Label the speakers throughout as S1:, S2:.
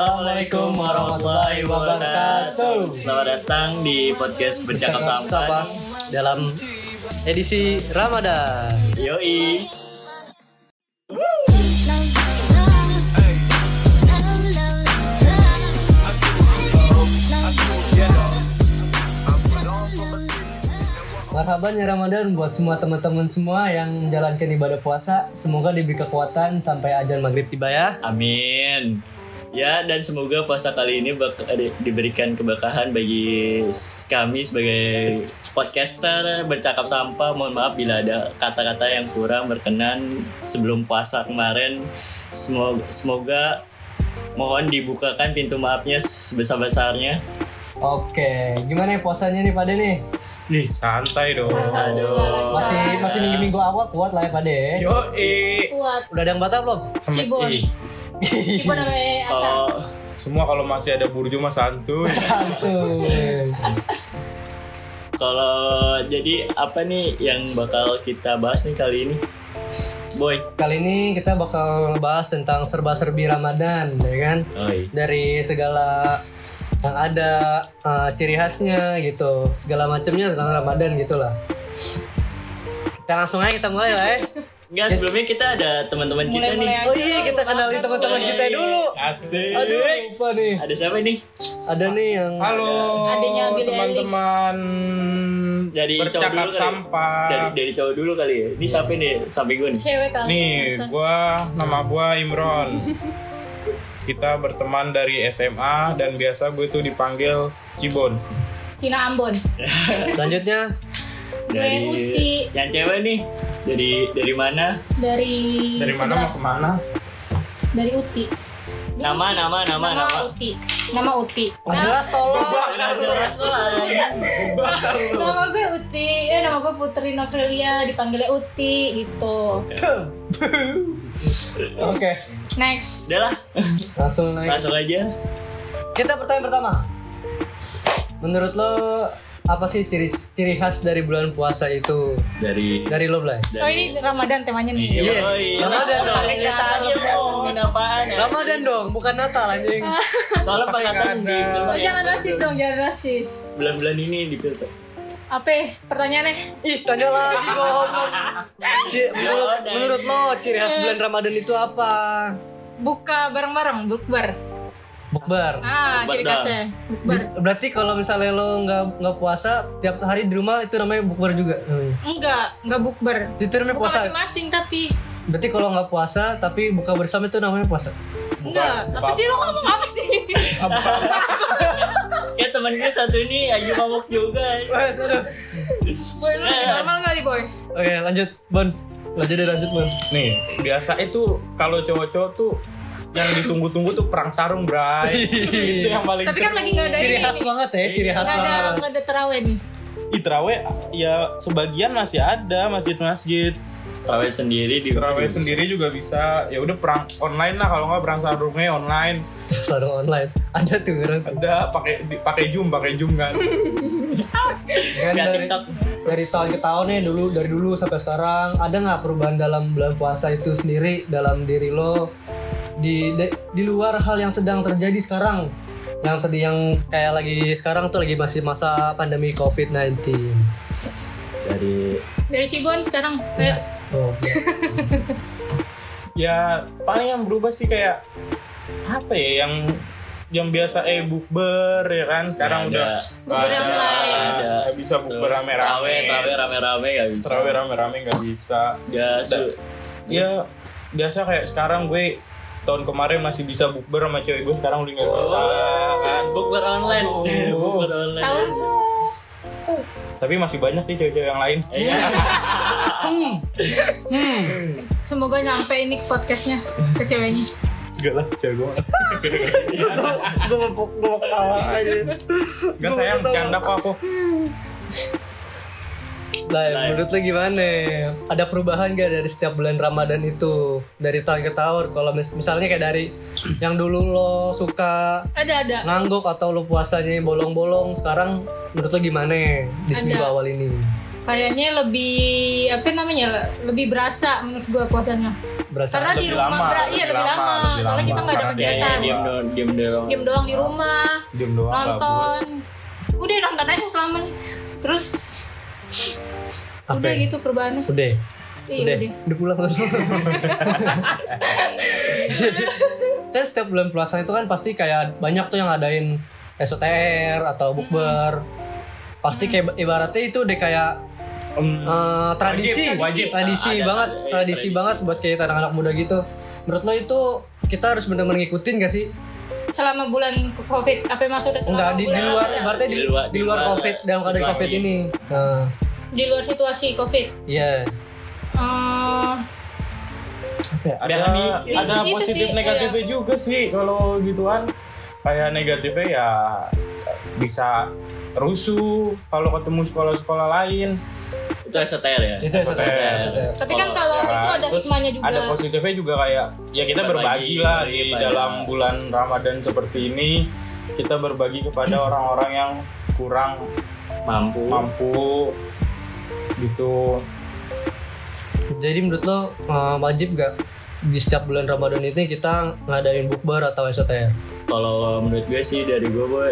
S1: Assalamualaikum warahmatullahi wabarakatuh.
S2: Selamat datang di podcast bercakap
S1: Sabang
S2: sampan.
S1: dalam edisi Ramadan.
S2: Yoi.
S1: Marhaban ya Ramadan buat semua teman-teman semua yang menjalankan ibadah puasa. Semoga diberi kekuatan sampai ajan maghrib tiba ya.
S2: Amin. Ya dan semoga puasa kali ini bak- eh, di- diberikan keberkahan bagi s- kami sebagai podcaster bercakap sampah. Mohon maaf bila ada kata-kata yang kurang berkenan sebelum puasa kemarin. Semoga, semoga mohon dibukakan pintu maafnya sebesar-besarnya.
S1: Oke, gimana ya puasanya nih Pade nih?
S3: Ih, santai dong.
S2: Aduh.
S1: Masih masih minggu-minggu awal kuat lah ya Pade.
S3: Yo, eh.
S4: kuat
S1: Udah ada yang batal belum?
S4: Cibon. tipe namanya asal
S2: Kalau
S3: semua kalau masih ada burjo mah santuy.
S1: Santuy.
S2: Kalau jadi apa nih yang bakal kita bahas nih kali ini? Boy.
S1: Kali ini kita bakal bahas tentang serba-serbi Ramadan, ya kan?
S2: Oi.
S1: dari segala yang ada eh, ciri khasnya gitu segala macamnya tentang Ramadan gitulah kita langsung aja kita mulai lah ya
S2: Enggak, sebelumnya kita ada teman-teman kita nih.
S4: mulai-mulai
S1: oh
S4: aja
S1: iya
S4: lah,
S1: kita
S4: belum
S1: kenalin
S4: makan
S1: teman-teman
S4: belum.
S1: kita dulu
S3: Asik.
S1: aduh lupa nih
S2: Ada siapa nih?
S1: ada nih yang
S3: Halo.
S4: Adanya Billie
S3: teman-teman
S2: Dari cowok
S3: bercakap
S2: dulu kali. ya?
S3: sampah.
S2: Dari dari cowok dulu kali ya. Ini siapa nih? Samping gue nih.
S4: cewek kan? kali
S3: Nih,
S4: Asal.
S3: gua nama gua Imron. Kita berteman dari SMA dan biasa gue tuh dipanggil Cibon.
S4: Cina Ambon
S1: selanjutnya
S2: Dari
S4: Gue Uti.
S2: yang cewek nih. Dari dari mana?
S4: dari
S3: Dari mana mau
S4: sebelah-
S3: kemana?
S4: dari Uti Dia
S2: Nama,
S4: Uti.
S2: nama, nama, nama.
S4: Uti nama Uti
S1: oh, jelas tolong
S4: nama gue Uti eh nama gue Putri Novelia dipanggilnya Uti gitu
S1: oke
S4: next
S2: Udah lah,
S1: langsung naik
S2: langsung aja.
S1: kita pertanyaan pertama menurut lo apa sih ciri ciri khas dari bulan puasa itu
S2: Dari
S1: dari lo Blay?
S4: oh ini Ramadan temanya nih
S1: Iya.
S2: Yoi.
S1: Ramadan dong.
S2: Kita tadi mau ngomongin apaan ya?
S1: Ramadan dong bukan Natal anjing
S2: Tolong perkataan di ya.
S4: oh, jangan rasis dong jangan rasis
S2: bulan-bulan ini di filter.
S4: apa pertanyaannya
S1: Ih, tanya lagi goblok.
S4: Ya
S1: Ci- menurut,
S2: Yaudah.
S1: menurut lo ciri khas bulan Ramadan itu apa?
S4: buka bareng-bareng bukber
S1: Bukber.
S4: ah
S2: Bukber
S4: ciri
S2: dah.
S4: khasnya bukber
S1: Berarti kalau misalnya lo nggak nggak puasa tiap hari di rumah itu namanya bukber juga. namanya.
S4: enggak enggak bukber
S1: Itu namanya
S4: buka
S1: puasa.
S4: masing-masing tapi
S1: Berarti kalau nggak puasa tapi buka bersama itu namanya puasa.
S4: Enggak, apa sih lu ngomong apa sih?
S2: Ya teman gue satu ini Ayu mabuk juga.
S4: Eh, Boy, lu lagi normal kali, Boy?
S1: Oke, lanjut, Bon. Lanjut deh, lanjut, Bon.
S3: Nih, biasa itu kalau cowok-cowok tuh yang ditunggu-tunggu tuh perang sarung, Bray. itu yang paling
S4: Tapi kan lagi nggak ada
S1: Ciri
S4: ini
S1: khas
S4: nih.
S1: banget ya, ciri khas
S4: Nggak ada,
S1: banget.
S4: nggak ada terawih nih
S3: Itrawe ya sebagian masih ada masjid-masjid.
S2: Terawih sendiri di
S3: Itrawe sendiri juga bisa. Ya udah perang online lah kalau nggak perang sarungnya online.
S1: Sarung online. Ada tuh orang.
S3: Ada pakai di- pakai Zoom, pakai Zoom kan.
S1: Kan
S2: Via
S1: dari,
S2: TikTok.
S1: dari tahun ke tahun nih dulu dari dulu sampai sekarang ada nggak perubahan dalam bulan puasa itu sendiri dalam diri lo di de- di luar hal yang sedang terjadi sekarang yang tadi yang kayak lagi sekarang tuh lagi masih masa pandemi COVID-19.
S2: dari
S4: Dari Cibon sekarang kayak
S1: Oh,
S3: ya paling yang berubah sih kayak apa ya yang yang biasa eh bukber ya kan sekarang
S2: Nggak
S3: udah
S2: ada.
S3: nggak
S4: Bukber online.
S3: nggak
S2: Ada.
S3: nggak bisa bukber
S2: Terus
S3: rame-rame
S2: terawih, terawih rame-rame gak bisa.
S3: terawih rame-rame nggak bisa
S2: Udah su-
S3: ya biasa kayak sekarang gue tahun kemarin masih bisa bukber sama cewek gue sekarang udah nggak bisa kan.
S2: bukber online. bukber online.
S4: sahur
S3: tapi masih banyak sih cewek-cewek yang lain
S2: Iya.
S4: semoga nyampe ini podcastnya ke ceweknya.
S3: enggak lah cewek gue
S1: gue mau gue mau
S3: enggak sayang bercanda kok aku
S1: Lah, menurut lo gimana? Ada perubahan gak dari setiap bulan Ramadan itu dari tahun ke tahun? Kalau mis- misalnya kayak dari yang dulu lo suka
S4: Ada ada.
S1: ngangguk atau lu puasanya bolong-bolong sekarang menurut lu gimana di seminggu
S4: Ada.
S1: awal ini
S4: kayaknya lebih apa namanya lebih berasa menurut gua puasanya
S1: Berasa
S4: karena di
S3: lebih
S4: rumah
S3: lama,
S4: bera- iya
S3: lebih
S4: lebih
S3: lama,
S4: lama,
S3: lebih
S4: soalnya
S3: lama.
S4: kita nggak ada
S3: Karena dia-
S4: kegiatan
S2: Diam doang, diam doang.
S4: diem doang di rumah
S3: Diem doang,
S4: nonton udah nonton aja selama terus
S1: Apa
S4: udah
S1: ya?
S4: gitu perbahannya
S1: Udah.
S4: Iya,
S1: udah.
S4: udah.
S1: Udah pulang terus. Jadi, kan setiap bulan puasa itu kan pasti kayak banyak tuh yang ngadain SOTR atau bukber. Pasti kayak ibaratnya itu udah kayak
S3: Hmm,
S1: eh, tradisi,
S3: wajib.
S1: tradisi
S2: Ada-
S1: banget,
S2: ada- iya,
S1: tradisi
S2: tradisi.
S1: banget buat kayak anak-anak muda gitu. Menurut lo itu kita harus benar-benar ngikutin gak sih?
S4: selama bulan covid apa maksudnya selama
S1: Enggak di, di
S4: bulan
S1: luar,
S4: apa?
S1: ibaratnya di,
S2: Iya, Di luar-
S1: di luar
S2: di luar
S1: covid dalam keadaan
S2: situasi.
S1: covid ini. Nah,
S4: di luar situasi covid
S1: iya.
S4: Eh,
S3: ada ada
S4: mikir. Ya, Itu
S3: positif
S4: sih, iya.
S3: negatifnya juga sih kalau gituan kayak negatifnya ya bisa rusuh kalau ketemu sekolah-sekolah lain
S2: Itu STR ya.
S1: Itu SOTR. SOTR.
S4: tapi kan kalau itu ada
S3: Terus
S4: hikmahnya juga
S3: ada positifnya juga kayak ya kita berbagi
S2: Berbagi,
S3: lah
S2: berbagi,
S3: di
S2: Pak, ya.
S3: dalam bulan Ramadan seperti ini kita berbagi kepada orang-orang yang kurang
S2: Mampu.
S3: mampu gitu
S1: Jadi menurut lo eh, wajib gak di setiap bulan Ramadan ini kita ngadain bukber atau ya, SOTR?
S2: Iya, Kalau menurut gue sih dari gue boy,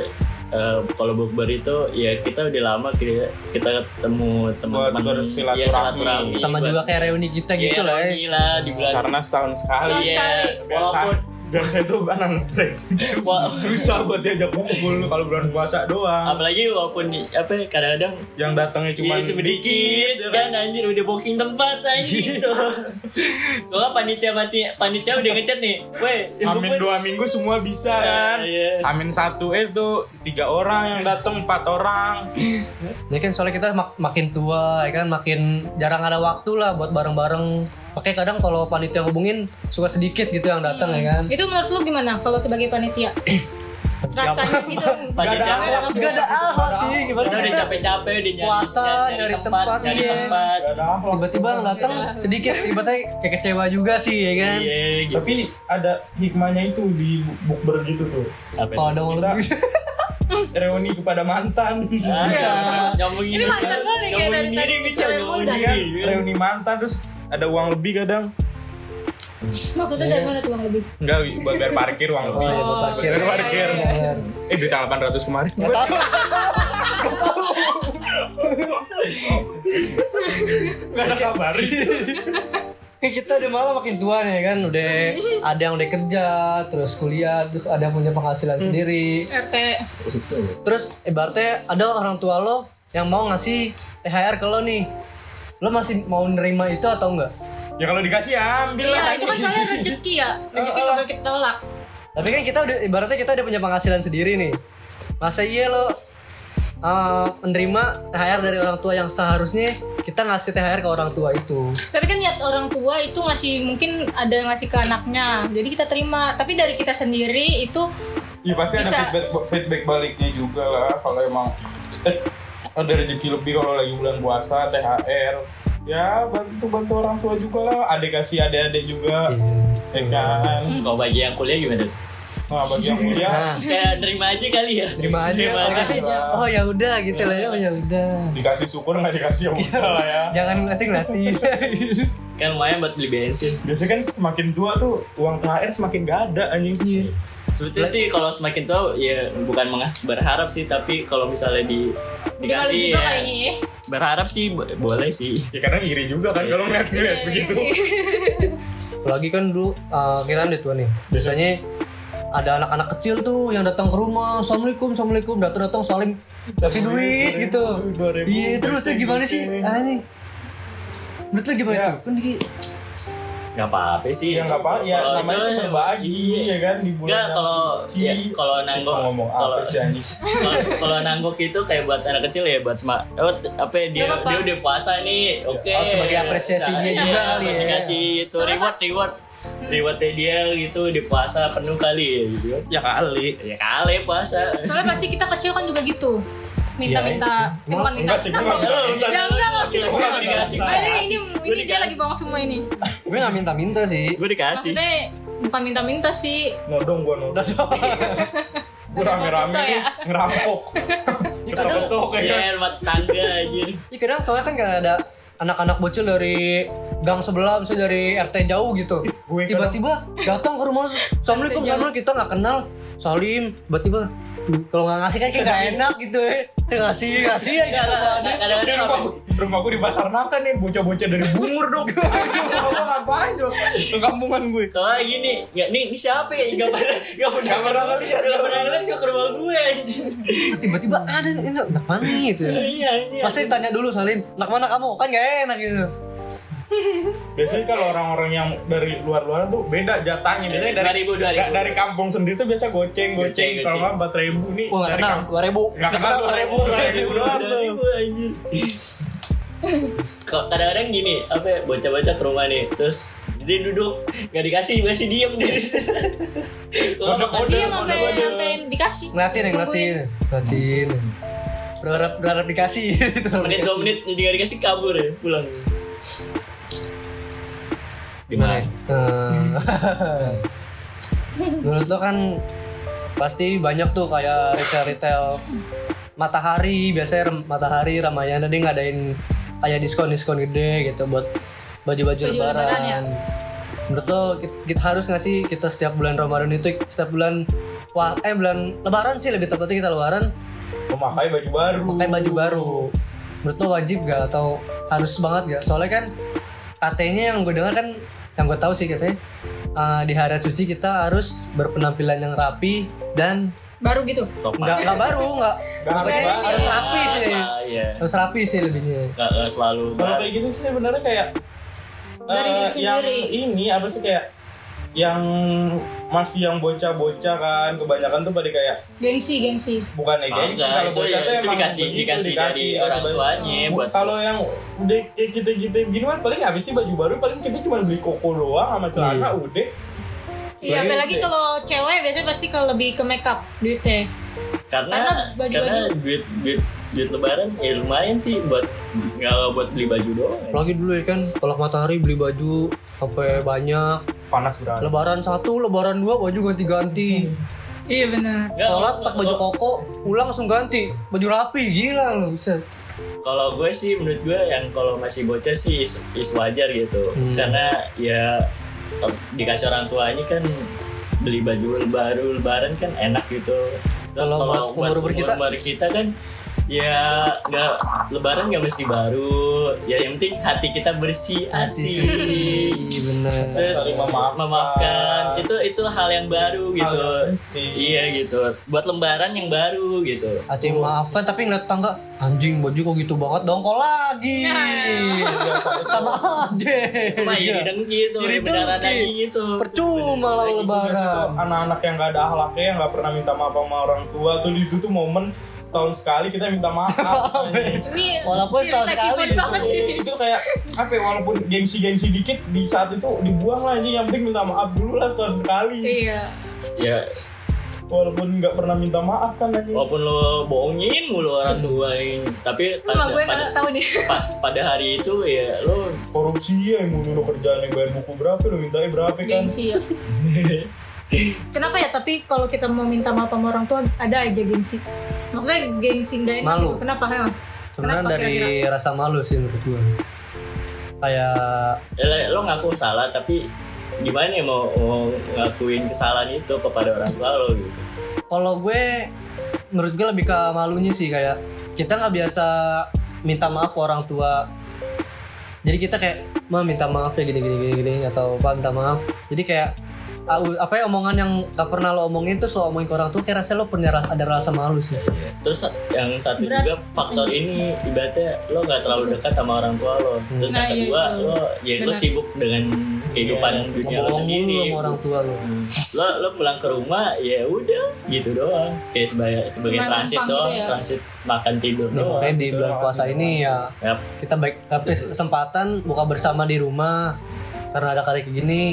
S2: eh, kalau bukber itu ya kita udah lama kita, kita ketemu teman-teman
S3: Buat bersilaturahmi.
S2: Iya, silaturahmi.
S1: Sama
S2: Buat-
S1: juga kayak reuni kita
S2: Iya,
S1: gitu lah ya.
S2: reuni di bulan
S3: karena setahun sekali
S2: Iya,
S4: sekali.
S3: biasa
S2: walaupun
S3: biasa itu anak trek
S2: wa-
S3: susah buat diajak kumpul kalau bulan
S1: Ah.
S3: puasa doang
S2: apalagi walaupun apa ya, kadang-kadang
S3: yang datangnya cuma
S2: Iya, itu sedikit
S1: gitu.
S2: kan
S3: Iya,
S2: anjir udah booking tempat anjir
S1: Iya.
S2: kalau nggak panitia mati panitia udah ngechat nih weh
S3: Amin dua minggu semua bisa kan
S2: Iya.
S3: Amin satu eh, itu tiga orang yang datang empat orang
S1: Ini kan soalnya kita mak- makin tua, ya kan makin jarang ada waktu lah buat bareng-bareng. Makanya kadang kalau panitia hubungin suka sedikit gitu yang datang ya kan.
S4: itu menurut lu gimana kalau sebagai panitia rasanya gitu
S2: Panitia
S4: Gak ada
S1: Gak ada akhlak sih, gimana
S2: Kita udah
S1: kita
S2: capek-capek udah nyari,
S1: Puasa, nyari tempat,
S2: nyari
S1: iya.
S2: tempat.
S1: tiba-tiba yang datang sedikit, tiba-tiba kayak kecewa juga sih ya kan.
S2: Iya, gitu.
S3: tapi ada hikmahnya itu di bukber gitu tuh
S2: Apa itu?
S1: Kalau ada orang gitu. lebih.
S3: reuni kepada mantan Iya kan?
S2: Ah,
S3: Bisa.
S2: Nyambungin
S4: Ini mantan lu nih, kayak
S2: nyambungin
S4: dari
S2: diri
S4: tadi
S2: bisa,
S4: cewek
S2: nyambungin
S4: muda. kan?
S2: diri.
S3: Iya, reuni mantan terus ada uang lebih kadang
S4: maksudnya dari mana tuh Bang lebih
S3: enggak buat bayar parkir uang
S1: Oh,
S3: lebih
S1: iya, buat parkir.
S3: Bayar parkir eh duit yang 800 kemarin
S1: Gak tahu.
S3: nggak ada kabar
S1: Kayak kita udah malah makin tua nih kan udah ada yang udah kerja terus kuliah terus ada yang punya penghasilan sendiri
S4: RT
S1: terus ibaratnya ada orang tua lo yang mau ngasih THR ke lo nih lo masih mau nerima itu atau enggak
S3: ya kalau dikasih ya ambil lah
S4: iya itu kan soalnya rezeki ya rezeki nggak boleh kita tolak
S1: tapi kan kita udah ibaratnya kita udah punya penghasilan sendiri nih masa iya lo eh, menerima THR dari orang tua yang seharusnya kita ngasih THR ke orang tua itu
S4: tapi kan niat orang tua itu ngasih mungkin ada yang ngasih ke anaknya jadi kita terima tapi dari kita sendiri itu
S3: Iya pasti ada
S4: Bisa.
S3: feedback feedback baliknya juga lah kalau emang eh, ada rezeki lebih kalau lagi bulan puasa THR ya bantu bantu orang tua juga lah adik kasih adik adik juga ya kan
S2: Kalau bagi yang kuliah gimana?
S3: nah bagi yang mulia
S1: Nah.
S2: Kayak nerima aja kali ya.
S1: terima aja
S2: Terima
S1: orang
S2: aja.
S1: kasih oh ya udah gitu lah ya oh ya udah
S3: dikasih syukur nggak dikasih ya udah lah ya
S1: jangan ngelatih ngelatih
S2: Kan lumayan buat beli bensin.
S3: biasanya kan semakin tua tuh uang THR semakin gak ada anjing
S4: Iya.
S2: Sebetulnya sih kalau semakin tua ya bukan mengha- berharap sih tapi kalau misalnya di
S4: dikasih
S2: dikasih ya,
S4: juga kayaknya ya.
S2: berharap sih bo- boleh sih.
S3: ya karena iri juga kan kalau ngeliat
S4: Iya,
S3: ngeliat begitu
S1: Apalagi kan dulu uh, kita kan udah tua nih. Biasanya ada anak-anak kecil tuh yang datang ke rumah, assalamualaikum, assalamualaikum, datang datang salim, kasih duit gitu.
S3: dua ribu,
S1: Iya, terus tuh gimana sih? Anjing. Menurut lu gimana
S3: Ya.
S1: tuh? Kan ini
S2: Gak apa-apa sih.
S3: ya nggak apa ya
S2: Kalau
S3: namanya
S2: itu-
S3: sih berbagi ya kan di bulan
S2: Enggak
S3: yang
S2: kalau
S3: suci.
S2: ya, kalau nanggok
S3: Suka ngomong
S2: kalau
S3: apa sih anjing
S2: kalau- kalau nanggok itu kayak buat anak kecil ya buat sama oh, t- apa ya, dia
S4: Gak apa-apa.
S2: dia udah puasa
S3: Ya,
S2: nih. Oke.
S1: Oh, sebagai apresiasinya
S2: Iya,
S1: juga kali ya.
S2: Dikasih itu reward reward rewardnya dia gitu di puasa penuh kali ya gitu.
S3: ya kali
S2: Ya kali puasa.
S4: soalnya pasti kita kecil kan juga gitu minta-minta eh, bukan
S3: enggak
S4: minta
S3: sih, gua enggak.
S4: ya enggak maksudnya
S2: Gua enggak dikasih.
S4: Ah, ini ini, ini dia lagi bawang semua ini
S1: gue gak minta-minta sih.
S2: Gue dikasih.
S4: maksudnya bukan minta-minta sih
S3: nodong gua nodong
S1: Udah doang.
S3: gua
S4: Ada
S3: rame-rame
S4: mau pisah
S3: nih
S4: ya?
S3: ngerampok
S1: Ya
S4: kadang
S3: Ketok-ketok
S2: ya
S3: kayak.
S2: air mata tangga anjir
S1: Iya kadang soalnya kan kadang ada anak-anak bocil dari gang sebelah misalnya dari RT jauh gitu
S3: Gue kadang-
S1: tiba-tiba datang ke rumah assalamualaikum assalamualaikum kita nggak kenal salim tiba-tiba kalau nggak ngasih kan kayak nggak enak gitu ya Kayak ngasih ngasih ya gitu
S2: kadang-kadang
S3: Rumah
S2: orang-
S3: gua- rumah gue di pasar nangka nih bocah-bocah dari bungur dong apa ngapain dong ke kampungan gue
S2: kalau lagi nih ya nih ini siapa ya nggak pernah nggak pernah
S3: Nggak pernah ngeliat.
S2: nggak pernah ngeliat nggak ke rumah gue anjir
S1: tiba-tiba ada ini anak mana nih?" gitu ya.
S2: iya iya
S1: pasti ditanya dulu salim anak mana kamu kan nggak enak gitu
S3: biasanya kalau orang-orang yang dari luar-luar tuh beda jatahnya biasanya dari
S2: 2000, 2000.
S3: da- dari kampung sendiri tuh biasa
S2: Goceng,
S3: goceng goceng kalau
S2: goceng.
S3: nggak empat ribu nih
S1: Wah nggak
S3: dari
S1: kenal
S3: kampung
S1: dua ribu
S3: nggak kenal dua ribu dua ribu doang tuh
S2: Kok kadang-kadang gini, apa ya, bocah-bocah ke rumah nih, terus dia duduk, gak dikasih masih diem deh. Kalau makan-
S3: Kodok, kodok.
S4: Iya sampai
S2: Waduh.
S4: sampai dikasih.
S1: ngeliatin ya ngeliatin ngeliatin berharap berharap dikasih Gitu.
S2: menit dua menit jadi gak dikasih kabur ya pulang. Gimana?
S1: Eh, Menurut lo kan pasti banyak tuh kayak retail-retail Matahari biasanya rem- Matahari Ramayana dia ngadain kayak diskon-diskon gede gitu buat baju-baju lebaran.
S4: lebaran ya.
S1: Menurut lo ki- kita, harus nggak sih kita setiap bulan Ramadan itu setiap bulan wah eh bulan lebaran sih lebih tepatnya kita lebaran
S3: memakai baju baru
S1: pakai baju baru menurut lo wajib gak atau harus banget gak soalnya kan katanya yang gue dengar kan yang gue tahu sih katanya eh, di hari suci kita harus berpenampilan yang rapi dan
S4: Baru gitu.
S1: nggak nggak baru nggak
S3: Nggak rapi
S1: nggak-
S3: banget.
S1: harus rapi sih
S2: Ah, Iya.
S1: harus rapi sih lebihnya
S2: Gak, gak selalu.
S3: kalau kayak gitu sih sebenarnya kayak
S4: Dari
S3: eh,
S4: diri
S3: yang
S4: sendiri.
S3: ini apa sih kayak yang masih yang bocah-bocah kan kebanyakan tuh pada kayak
S4: Gengsi, gengsi.
S3: bukan ya
S2: Ah,
S3: gengsi
S2: enggak,
S3: kalau
S2: itu
S3: bocah
S2: ya,
S3: tuh
S2: itu
S3: emang
S2: dikasih-
S3: begitu,
S2: dikasih dari
S3: baju
S2: orang
S3: baru.
S2: tuanya
S3: Bu-
S2: buat-
S3: kalau yang udah kayak gitu-gitu gini kan paling habis sih baju baru paling kita cuma beli koko doang sama celana udah
S4: Iya,
S3: Baru
S4: apalagi
S3: gitu.
S4: kalau cewek biasanya pasti ke lebih ke makeup duitnya.
S2: karena
S4: Karena
S2: karena,
S4: baju-baju-
S2: duit duit duit lebaran ya lumayan sih buat nggak buat beli baju doang ya.
S1: apalagi dulu ya kan kalau matahari beli baju sampai banyak
S3: panas udah
S1: lebaran satu lebaran dua baju ganti-ganti
S4: Iya benar.
S2: Nggak,
S1: sholat
S2: kalau-
S1: pakai baju koko pulang langsung ganti baju rapi gila lo bisa
S2: kalau gue sih menurut gue yang kalau masih bocah sih is, is wajar gitu
S1: Hmm.
S2: karena ya em, dikasih orang tuanya kan beli baju baru lebaran kan enak gitu terus
S1: Kalau
S2: kalau
S1: buat
S2: buat
S1: umur-umur kita?
S2: umur kita kan ya nggak lebaran nggak mesti baru ya yang penting hati kita bersih asih
S1: Iya bener
S2: terus
S3: Saling memaafkan.
S2: memaafkan. itu itu hal yang baru gitu
S3: yang penting.
S2: iya gitu buat lembaran yang baru gitu
S1: Hati yang maafkan tapi ngeliat tangga anjing baju kok gitu banget dongkol lagi sama aja
S2: cuma iri
S1: Iya.
S2: dengki gitu
S1: Iri
S2: benar ada
S1: dengki.
S2: gitu
S1: percuma lah lebaran
S3: anak-anak yang gak ada akhlaknya yang gak pernah minta maaf sama orang tua tuh itu tuh momen setahun sekali kita minta maaf
S2: ya?
S4: Ini
S1: Walaupun setahun
S4: cerita
S1: sekali.
S4: ciput banget sih.
S3: itu kayak apa ya, walaupun gengsi gengsi dikit di saat itu dibuang lah anjing yang penting minta maaf dulu lah setahun sekali
S4: Iya.
S2: ya
S3: walaupun nggak pernah minta maaf kan anjing
S2: walaupun lo bohongin mulu orang tua ini tapi pada,
S4: Mama gue
S2: pada,
S4: Hmm. nggak tahu nih.
S2: pa- pada hari itu ya lo
S3: korupsi ya yang dulu kerjaan yang bayar buku berapa udah mintain berapa kan
S4: Gengsi ya. Kenapa ya? Tapi kalau kita mau minta maaf sama orang tua, ada aja gengsi. Maksudnya gengsi nggak enak.
S1: Malu.
S4: gitu. Kenapa? Hel?
S1: sebenarnya
S4: Kenapa
S1: dari
S4: kira-kira?
S1: rasa malu sih menurut gue kayak
S2: ya lo ngaku salah tapi gimana ya mau, mau ngakuin kesalahan itu kepada orang tua lo gitu
S1: kalau gue menurut gue lebih ke malunya sih kayak kita nggak biasa minta maaf ke orang tua jadi kita kayak ma minta maaf ya gini gini gini gini atau apa minta maaf jadi kayak ah, u- apa ya omongan yang gak pernah lo omongin terus lo omongin ke orang tua kayak rasanya lo punya ras- ada rasa malu sih
S2: Terus yang satu
S4: Berat Iya.
S2: juga faktor ini ibaratnya lo nggak terlalu dekat sama orang tua lo. Terus yang
S4: Nah, iya
S2: kedua
S4: itu.
S2: lo ya lo
S4: Benar. Iya,
S2: sibuk dengan kehidupan dunia lo
S1: ngomong mulu
S2: sendiri.
S1: sama orang tua lo
S2: Lo lo pulang ke rumah ya udah gitu doang. Kayak sebagai sebagai
S4: Cuma
S2: transit
S4: numpang
S2: doang,
S4: gitu ya.
S2: transit makan tidur
S1: Nah,
S2: doang.
S1: makanya di bulan puasa ini ya
S2: Yap.
S1: kita baik tapi
S2: Iya.
S1: kesempatan buka bersama di rumah karena ada kali kayak gini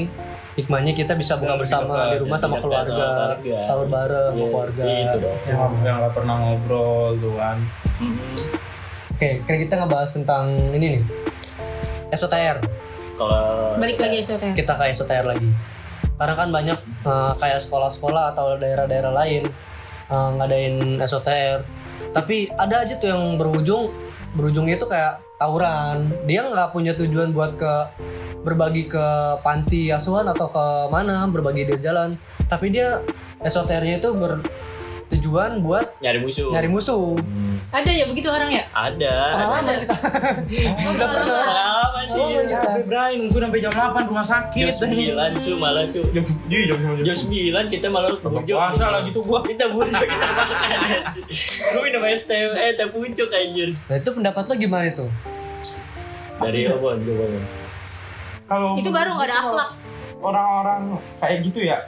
S1: hikmahnya kita bisa buka bersama di rumah sama
S2: lebih dekat sama
S1: keluarga
S2: keluarga.
S1: sahur bareng sama
S2: Iya,
S1: keluarga
S2: gitu dong.
S1: Ya.
S3: yang yang nggak pernah ngobrol tuh kan
S2: Mm-mm.
S1: oke kira kita ngebahas tentang ini nih SOTR
S2: Kalau
S4: Balik lagi ya sore.
S1: kita ke SOTR lagi karena kan banyak eh, kayak sekolah-sekolah atau daerah-daerah lain eh, ngadain SOTR tapi ada aja tuh yang berujung berujungnya itu kayak tawuran dia nggak punya tujuan buat ke berbagi ke panti asuhan atau ke mana berbagi di jalan tapi dia SOTR-nya itu bertujuan buat
S2: nyari musuh
S1: nyari musuh
S4: Ada ya begitu orang ya?
S2: ada
S1: pengalaman kita sudah pernah
S2: pengalaman sih
S1: pengalaman kita
S5: Capek Bray, nunggu sampai jam 8 rumah sakit. Iya,
S2: jam sembilan cu
S4: Hmm.
S2: malah cu
S3: Iya, Jam di jam
S2: jam sembilan kita malah
S3: Buka
S2: bujuk
S3: puasa lagi tuh gua.
S2: kita bujuk kita makan anjir. gue minum es teh eh teh pucuk anjir
S1: nah itu pendapat lo gimana itu
S2: dari obon Ya, gue bangun
S3: Kalau
S4: Itu baru nggak ada akhlak.
S3: orang-orang kayak gitu ya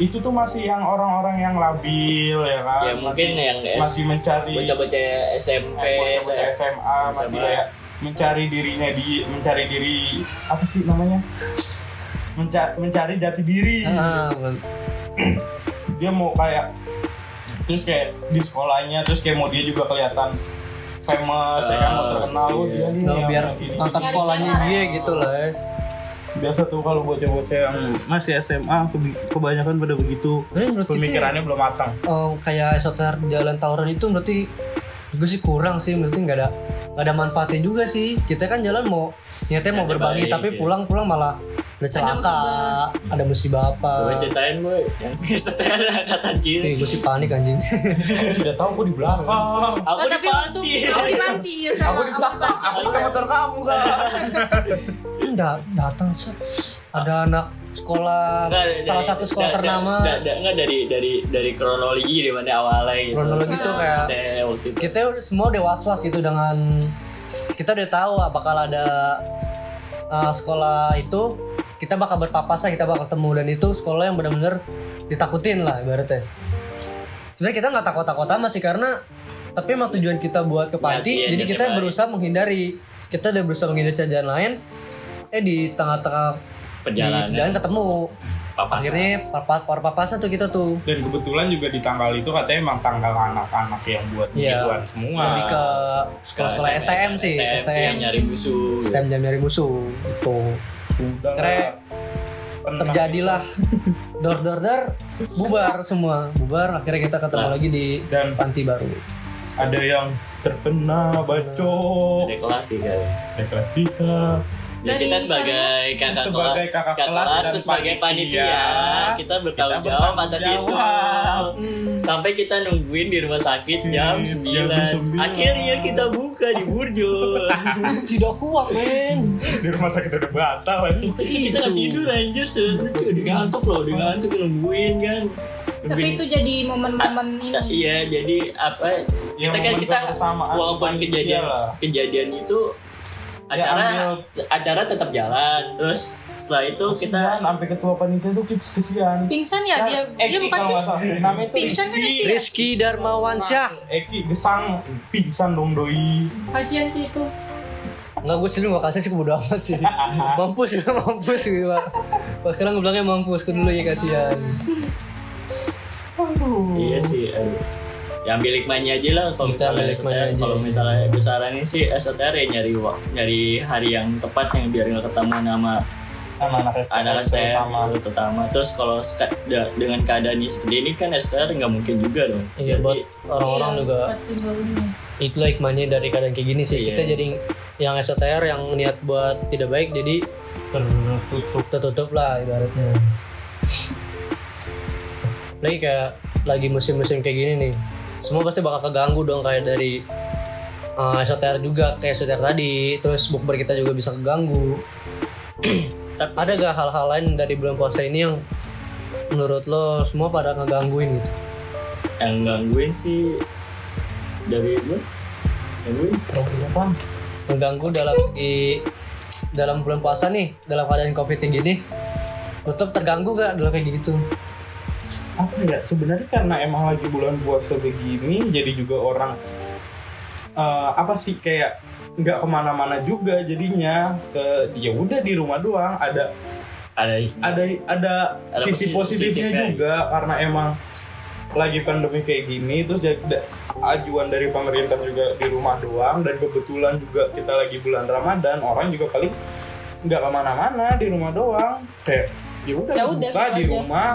S3: itu tuh masih yang orang-orang yang labil ya kan
S2: Ya, mungkin
S3: masih,
S2: yang S-
S3: masih mencari
S2: bocah-bocah SMP
S3: eh, bocah-bocah
S5: ya.
S2: saya-
S3: SMA masih
S2: SMA.
S3: kayak mencari dirinya di mencari diri apa sih namanya Menca- mencari jati diri
S1: ah,
S3: dia mau kayak terus kayak di sekolahnya terus kayak mau dia juga kelihatan famous ya kan mau
S2: Ah,
S3: terkenal oh,
S2: iya.
S3: dia nih
S1: Nah,
S3: yang
S1: biar
S3: gini.
S1: angkat sekolahnya dia gitu lah ya.
S3: biasa tuh kalau bocah-bocah yang ya, masih SMA kebi- kebanyakan pada begitu
S1: Tapi menurut kita-
S3: pemikirannya belum matang
S1: Oh, kayak esoter jalan tawuran itu berarti gue sih kurang sih berarti nggak ada nggak ada manfaatnya juga sih kita kan jalan mau niatnya mau
S2: Niatnya
S1: berbagi
S2: baik,
S1: tapi
S2: iya.
S1: pulang pulang malah ada celaka ada musibah, apa
S2: gue ceritain gue yang setelah angkatan kiri
S1: Eh, gue sih panik anjing
S3: tidak tahu aku di belakang
S2: aku
S4: Oh,
S2: di
S4: tapi waktu
S2: panti
S4: aku di panti ya sama aku di belakang.
S5: Aku udah motor kamu kan.
S1: Nggak datang set. ada anak sekolah
S2: Nggak, dari-
S1: salah satu sekolah
S2: da- da-
S1: ternama
S2: da- da- nggak dari dari dari kronologi dari mana awalnya gitu
S1: kronologi itu
S4: Ah.
S1: kayak
S2: Teh, waktu itu
S1: kita udah- semua udah was was gitu dengan kita udah tahu ah, bakal ada uh, sekolah itu kita bakal berpapasan kita bakal ketemu dan itu sekolah yang benar-benar ditakutin lah ibaratnya sebenarnya kita nggak takut-takut amat sih karena tapi emang tujuan kita buat ke panti
S2: Iya,
S1: jadi
S2: niatnya
S1: kita
S2: baik.
S1: berusaha menghindari kita udah berusaha menghindari jalan lain eh di tengah-tengah di
S2: perjalanan
S1: jalan ketemu
S2: Papasan.
S1: akhirnya papa- para papasan tuh kita tuh
S3: dan kebetulan juga di tanggal itu katanya emang tanggal anak-anak yang buat
S1: Iya.
S3: mingguan semua
S1: lebih ke
S2: Ke
S1: sekolah-sekolah
S2: SMS,
S1: STM sih
S2: STM sih yang nyari musuh
S1: STM jam nyari musuh gitu. itu
S3: sudah
S1: Keren.
S3: Tenang.
S1: terjadilah dor dor dor bubar semua bubar akhirnya kita ketemu lagi di
S3: Dan-
S1: panti baru
S3: ada yang terkena bacok
S2: ada kelas sih kan
S3: ada kelas kita
S2: Dan
S4: Dari
S2: kita sebagai kakak
S3: Sebagai
S2: kelas,
S3: kakak kelas dan
S2: terus sebagai
S3: panitia,
S2: panitia, kita bertanggung
S3: kita
S2: jawab
S3: bertanggung
S2: atas itu.
S3: jawab.
S4: Hmm.
S2: Sampai kita nungguin di rumah sakit jam
S3: Jam
S2: 9.
S3: 9.
S2: Akhirnya kita buka di Burjo.
S1: tidak kuat men
S3: di rumah sakit udah batal ini
S2: kita nggak tidur aja udah ngantuk loh, udah ngantuk nungguin kan.
S4: Tapi
S2: Nungguin
S4: itu jadi momen-momen
S2: Nah,
S4: ini.
S2: iya jadi apa
S3: Ya,
S2: kita kan
S3: momen
S2: kita
S3: kebersamaan
S2: walaupun
S3: panitia
S2: kejadian
S3: lah.
S2: kejadian itu
S3: Ya,
S2: acara
S3: ambil-
S2: acara tetap jalan terus setelah itu kita
S3: kita sampai ketua panitia tuh kips kesian Nah,
S4: Pingsan ya dia dia
S3: Eki Eh,
S4: bukan
S3: kalau
S4: sih.
S3: nggak salah namanya tuh
S4: Pingsan
S1: Iya.
S4: kan
S3: Rizky.
S4: Eki ya?
S1: Rizky Darmawan Syah
S3: Eki gesang pingsan dong doi
S4: Kasihan sih itu.
S1: nggak gue sendiri gak kasih sih kebodoh amat sih mampus mampus gitu pak Pas sekarang gue bilangnya mampus ke dulu ya kasihan
S2: Iya sih. Aduh. Ya ambil hikmahnya aja lah kalau
S1: Kita
S2: misalnya
S1: ambil hikmahnya
S2: SOTR,
S1: aja.
S2: kalau misalnya gue saranin sih SOTR ya nyari wa- nyari hari yang tepat yang biar nggak ketemu nama
S3: anak-anak
S2: anak
S3: STM
S2: STM
S3: terutama.
S2: gitu, terutama. Terus kalau seka- da- dengan keadaan seperti ini kan SOTR nggak mungkin juga dong.
S1: iya
S2: Jadi,
S1: buat orang-orang
S4: Iya,
S1: juga
S4: Pasti baunya.
S1: itulah hikmahnya dari keadaan kayak gini sih
S2: Iya.
S1: kita jadi yang SOTR yang niat buat tidak baik jadi
S3: tertutup
S1: tertutup lah ibaratnya lagi kayak lagi musim-musim kayak gini nih semua pasti bakal keganggu dong kayak dari uh, SOTR juga kayak SOTR tadi terus bukber kita juga bisa keganggu
S2: Tapi-
S1: ada gak hal-hal lain dari bulan puasa ini yang menurut lo semua pada ngegangguin gitu
S2: yang gangguin sih dari gue gangguin
S1: ngeganggu dalam di dalam bulan puasa nih dalam keadaan covid yang gini lo tuh terganggu gak dalam kayak gitu
S3: apa ya sebenarnya karena emang lagi bulan puasa begini jadi juga orang eh, apa sih kayak nggak kemana-mana juga jadinya ke ya udah di rumah doang ada
S2: ada
S3: ada ada,
S2: Ada
S3: sisi
S2: posi-
S3: positifnya
S2: positifnya.
S3: juga karena emang lagi pandemi kayak gini terus jadi da- ajuan dari pemerintah juga di rumah doang dan kebetulan juga kita lagi bulan Ramadan orang juga paling nggak kemana-mana di rumah doang kayak ya udah
S4: Ya
S3: habis
S4: udah,
S3: buka
S4: gitu
S3: di
S4: aja.
S3: rumah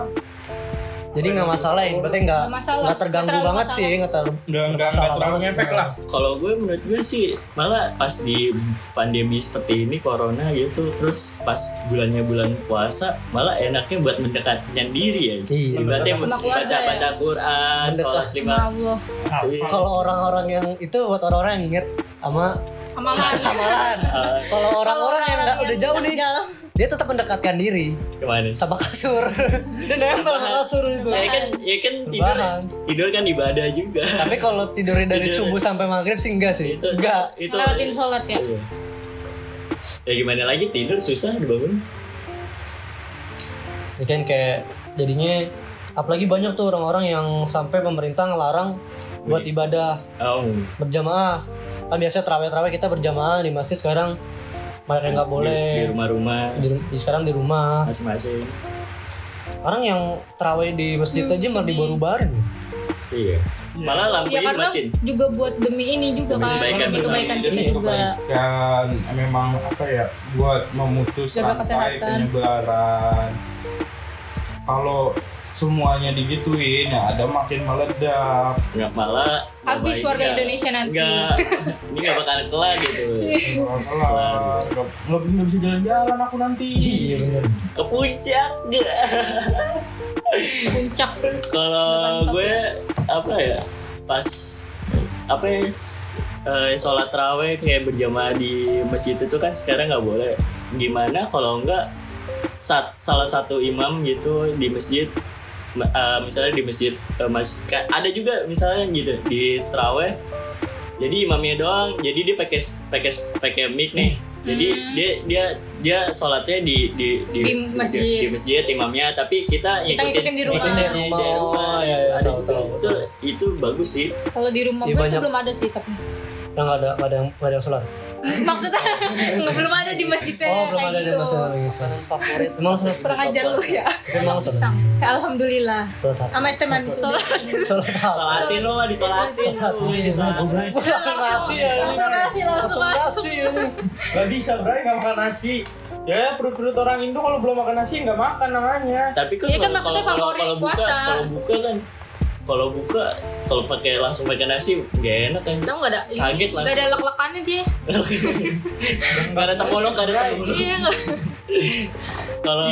S1: Jadi nggak masalah ya, berarti nggak
S4: Nggak masalah.
S1: nggak terganggu
S4: Nggak terlalu
S1: banget sih, nggak ter-
S3: nggak nggak nggak terlalu ngefek lah
S2: Kalau gue menurut gue sih malah pas di pandemi seperti ini corona gitu terus pas bulannya bulan puasa malah enaknya buat mendekatkan diri ya.
S1: Iya.
S2: Ibaratnya
S4: Sama keluarga
S2: baca
S4: ya.
S2: baca Quran,
S1: Mendekat.
S2: sholat lima.
S4: Sama Ya Allah
S2: Iya.
S1: Kalau orang-orang yang itu buat orang-orang yang inget sama
S4: sama Allah
S1: amalan.
S2: Ah,
S1: Kalau orang-orang yang nggak
S4: orang-orang
S1: udah
S4: yang
S1: jauh nih,
S4: jauh.
S1: dia tetap mendekatkan diri
S2: Kemana?
S1: sama kasur. dia nempel sama kasur itu.
S4: Iya.
S2: Ya kan, ya kan tidur,
S1: Rebahan.
S2: tidur kan ibadah juga.
S1: Tapi kalau tidurnya dari subuh sampai maghrib sih enggak sih.
S2: Itu-
S1: Enggak.
S2: Itu
S4: Ngelewatin sholat ya
S2: Iya. Ya gimana lagi tidur susah dibangun.
S1: Ya kan kayak jadinya apalagi banyak tuh orang-orang yang sampai pemerintah ngelarang buat ibadah
S2: Oh,
S1: berjamaah. Kan biasanya terawih-terawih kita berjamaah di masjid sekarang banyak yang nggak
S2: di,
S1: boleh.
S2: di rumah-rumah
S1: Di, di- sekarang di rumah.
S2: masing-masing.
S1: Orang yang terawih di masjid aja malah dibaru-barin.
S2: Iya. Malah
S4: Ya
S2: lampunya
S4: karena
S2: dimatiin.
S4: juga buat demi ini juga
S2: Demi
S4: kan
S2: kebaikan
S4: Demi
S2: bersama.
S4: kebaikan kita
S3: Demi
S4: juga
S3: Iya, kebaikan memang apa ya buat memutus
S4: Jaga
S3: rantai
S4: kesehatan.
S3: penyebaran kalau semuanya digituin ya ada makin meledak
S2: Nggak malah
S4: Habis
S2: ngapain,
S4: warga
S2: nggak-
S4: Indonesia nanti.
S2: nggak, ini nggak bakal kelar gitu.
S3: Alah, nggak nggak bisa jalan-jalan aku nanti
S1: benar.
S2: Ke puncak nggak?
S4: Puncak
S2: Kalau gue apa ya pas apa ya eh, sholat raweh kayak berjamaah di masjid itu kan sekarang nggak boleh. Gimana kalau nggak sat- salah satu imam gitu di masjid ma- eh, misalnya di masjid eh, mas- ka- ada juga misalnya gitu di teraweh jadi imamnya doang jadi dia pakai pakai pakai mic nih jadi dia dia dia sholatnya di di
S4: Hmm. Di masjid.
S2: di, di masjid imamnya tapi kita
S4: Kita ngikutin di rumah.
S2: ngikutin dari
S1: Rumah,
S2: dari rumah,
S1: ya,
S2: gitu.
S1: ya,
S2: Ada
S1: tahu,
S2: juga.
S1: tahu,
S2: itu itu bagus sih
S4: Kalau di rumah
S1: Ya,
S4: gue
S1: banyak.
S4: tuh belum ada sih tapi
S1: Yang nggak ada nggak ada yang nggak ada yang sholat.
S4: Maksudnya nggak- belum ada di masjidnya
S1: Oh belum
S4: kayak
S1: ada di
S4: gitu
S1: masjid gitu. Favorit. Emang sholat.
S4: Kurang ajar lu ya
S1: Emang sholat.
S4: Pisang Alhamdulillah
S1: Sholat apa?
S4: Sama es teh manis sholat
S1: Sholat apa?
S2: sholatin lo lah ya, disolatin lu, disolatin.
S1: Langsung nasi ya. ini.
S4: Langsung nasi, langsung
S1: nasi ya. ini.
S3: nggak bisa bray nggak makan nasi ya perut-perut orang Indo kalau belum makan nasi nggak makan namanya
S2: tapi kan
S4: Iya kan
S2: kalau-
S4: maksudnya
S2: kalau-
S4: favorit
S2: kalau buka
S4: puasa.
S2: kalau buka kan kalau buka kalau pakai langsung pakai nasi nggak enak kan
S4: Tau nggak ada
S2: Kaget langsung.
S4: Gak ada lek-lekannya dia
S2: Gak ada tepolong, gak ada tepolong.
S4: Iya nggak
S2: Kalau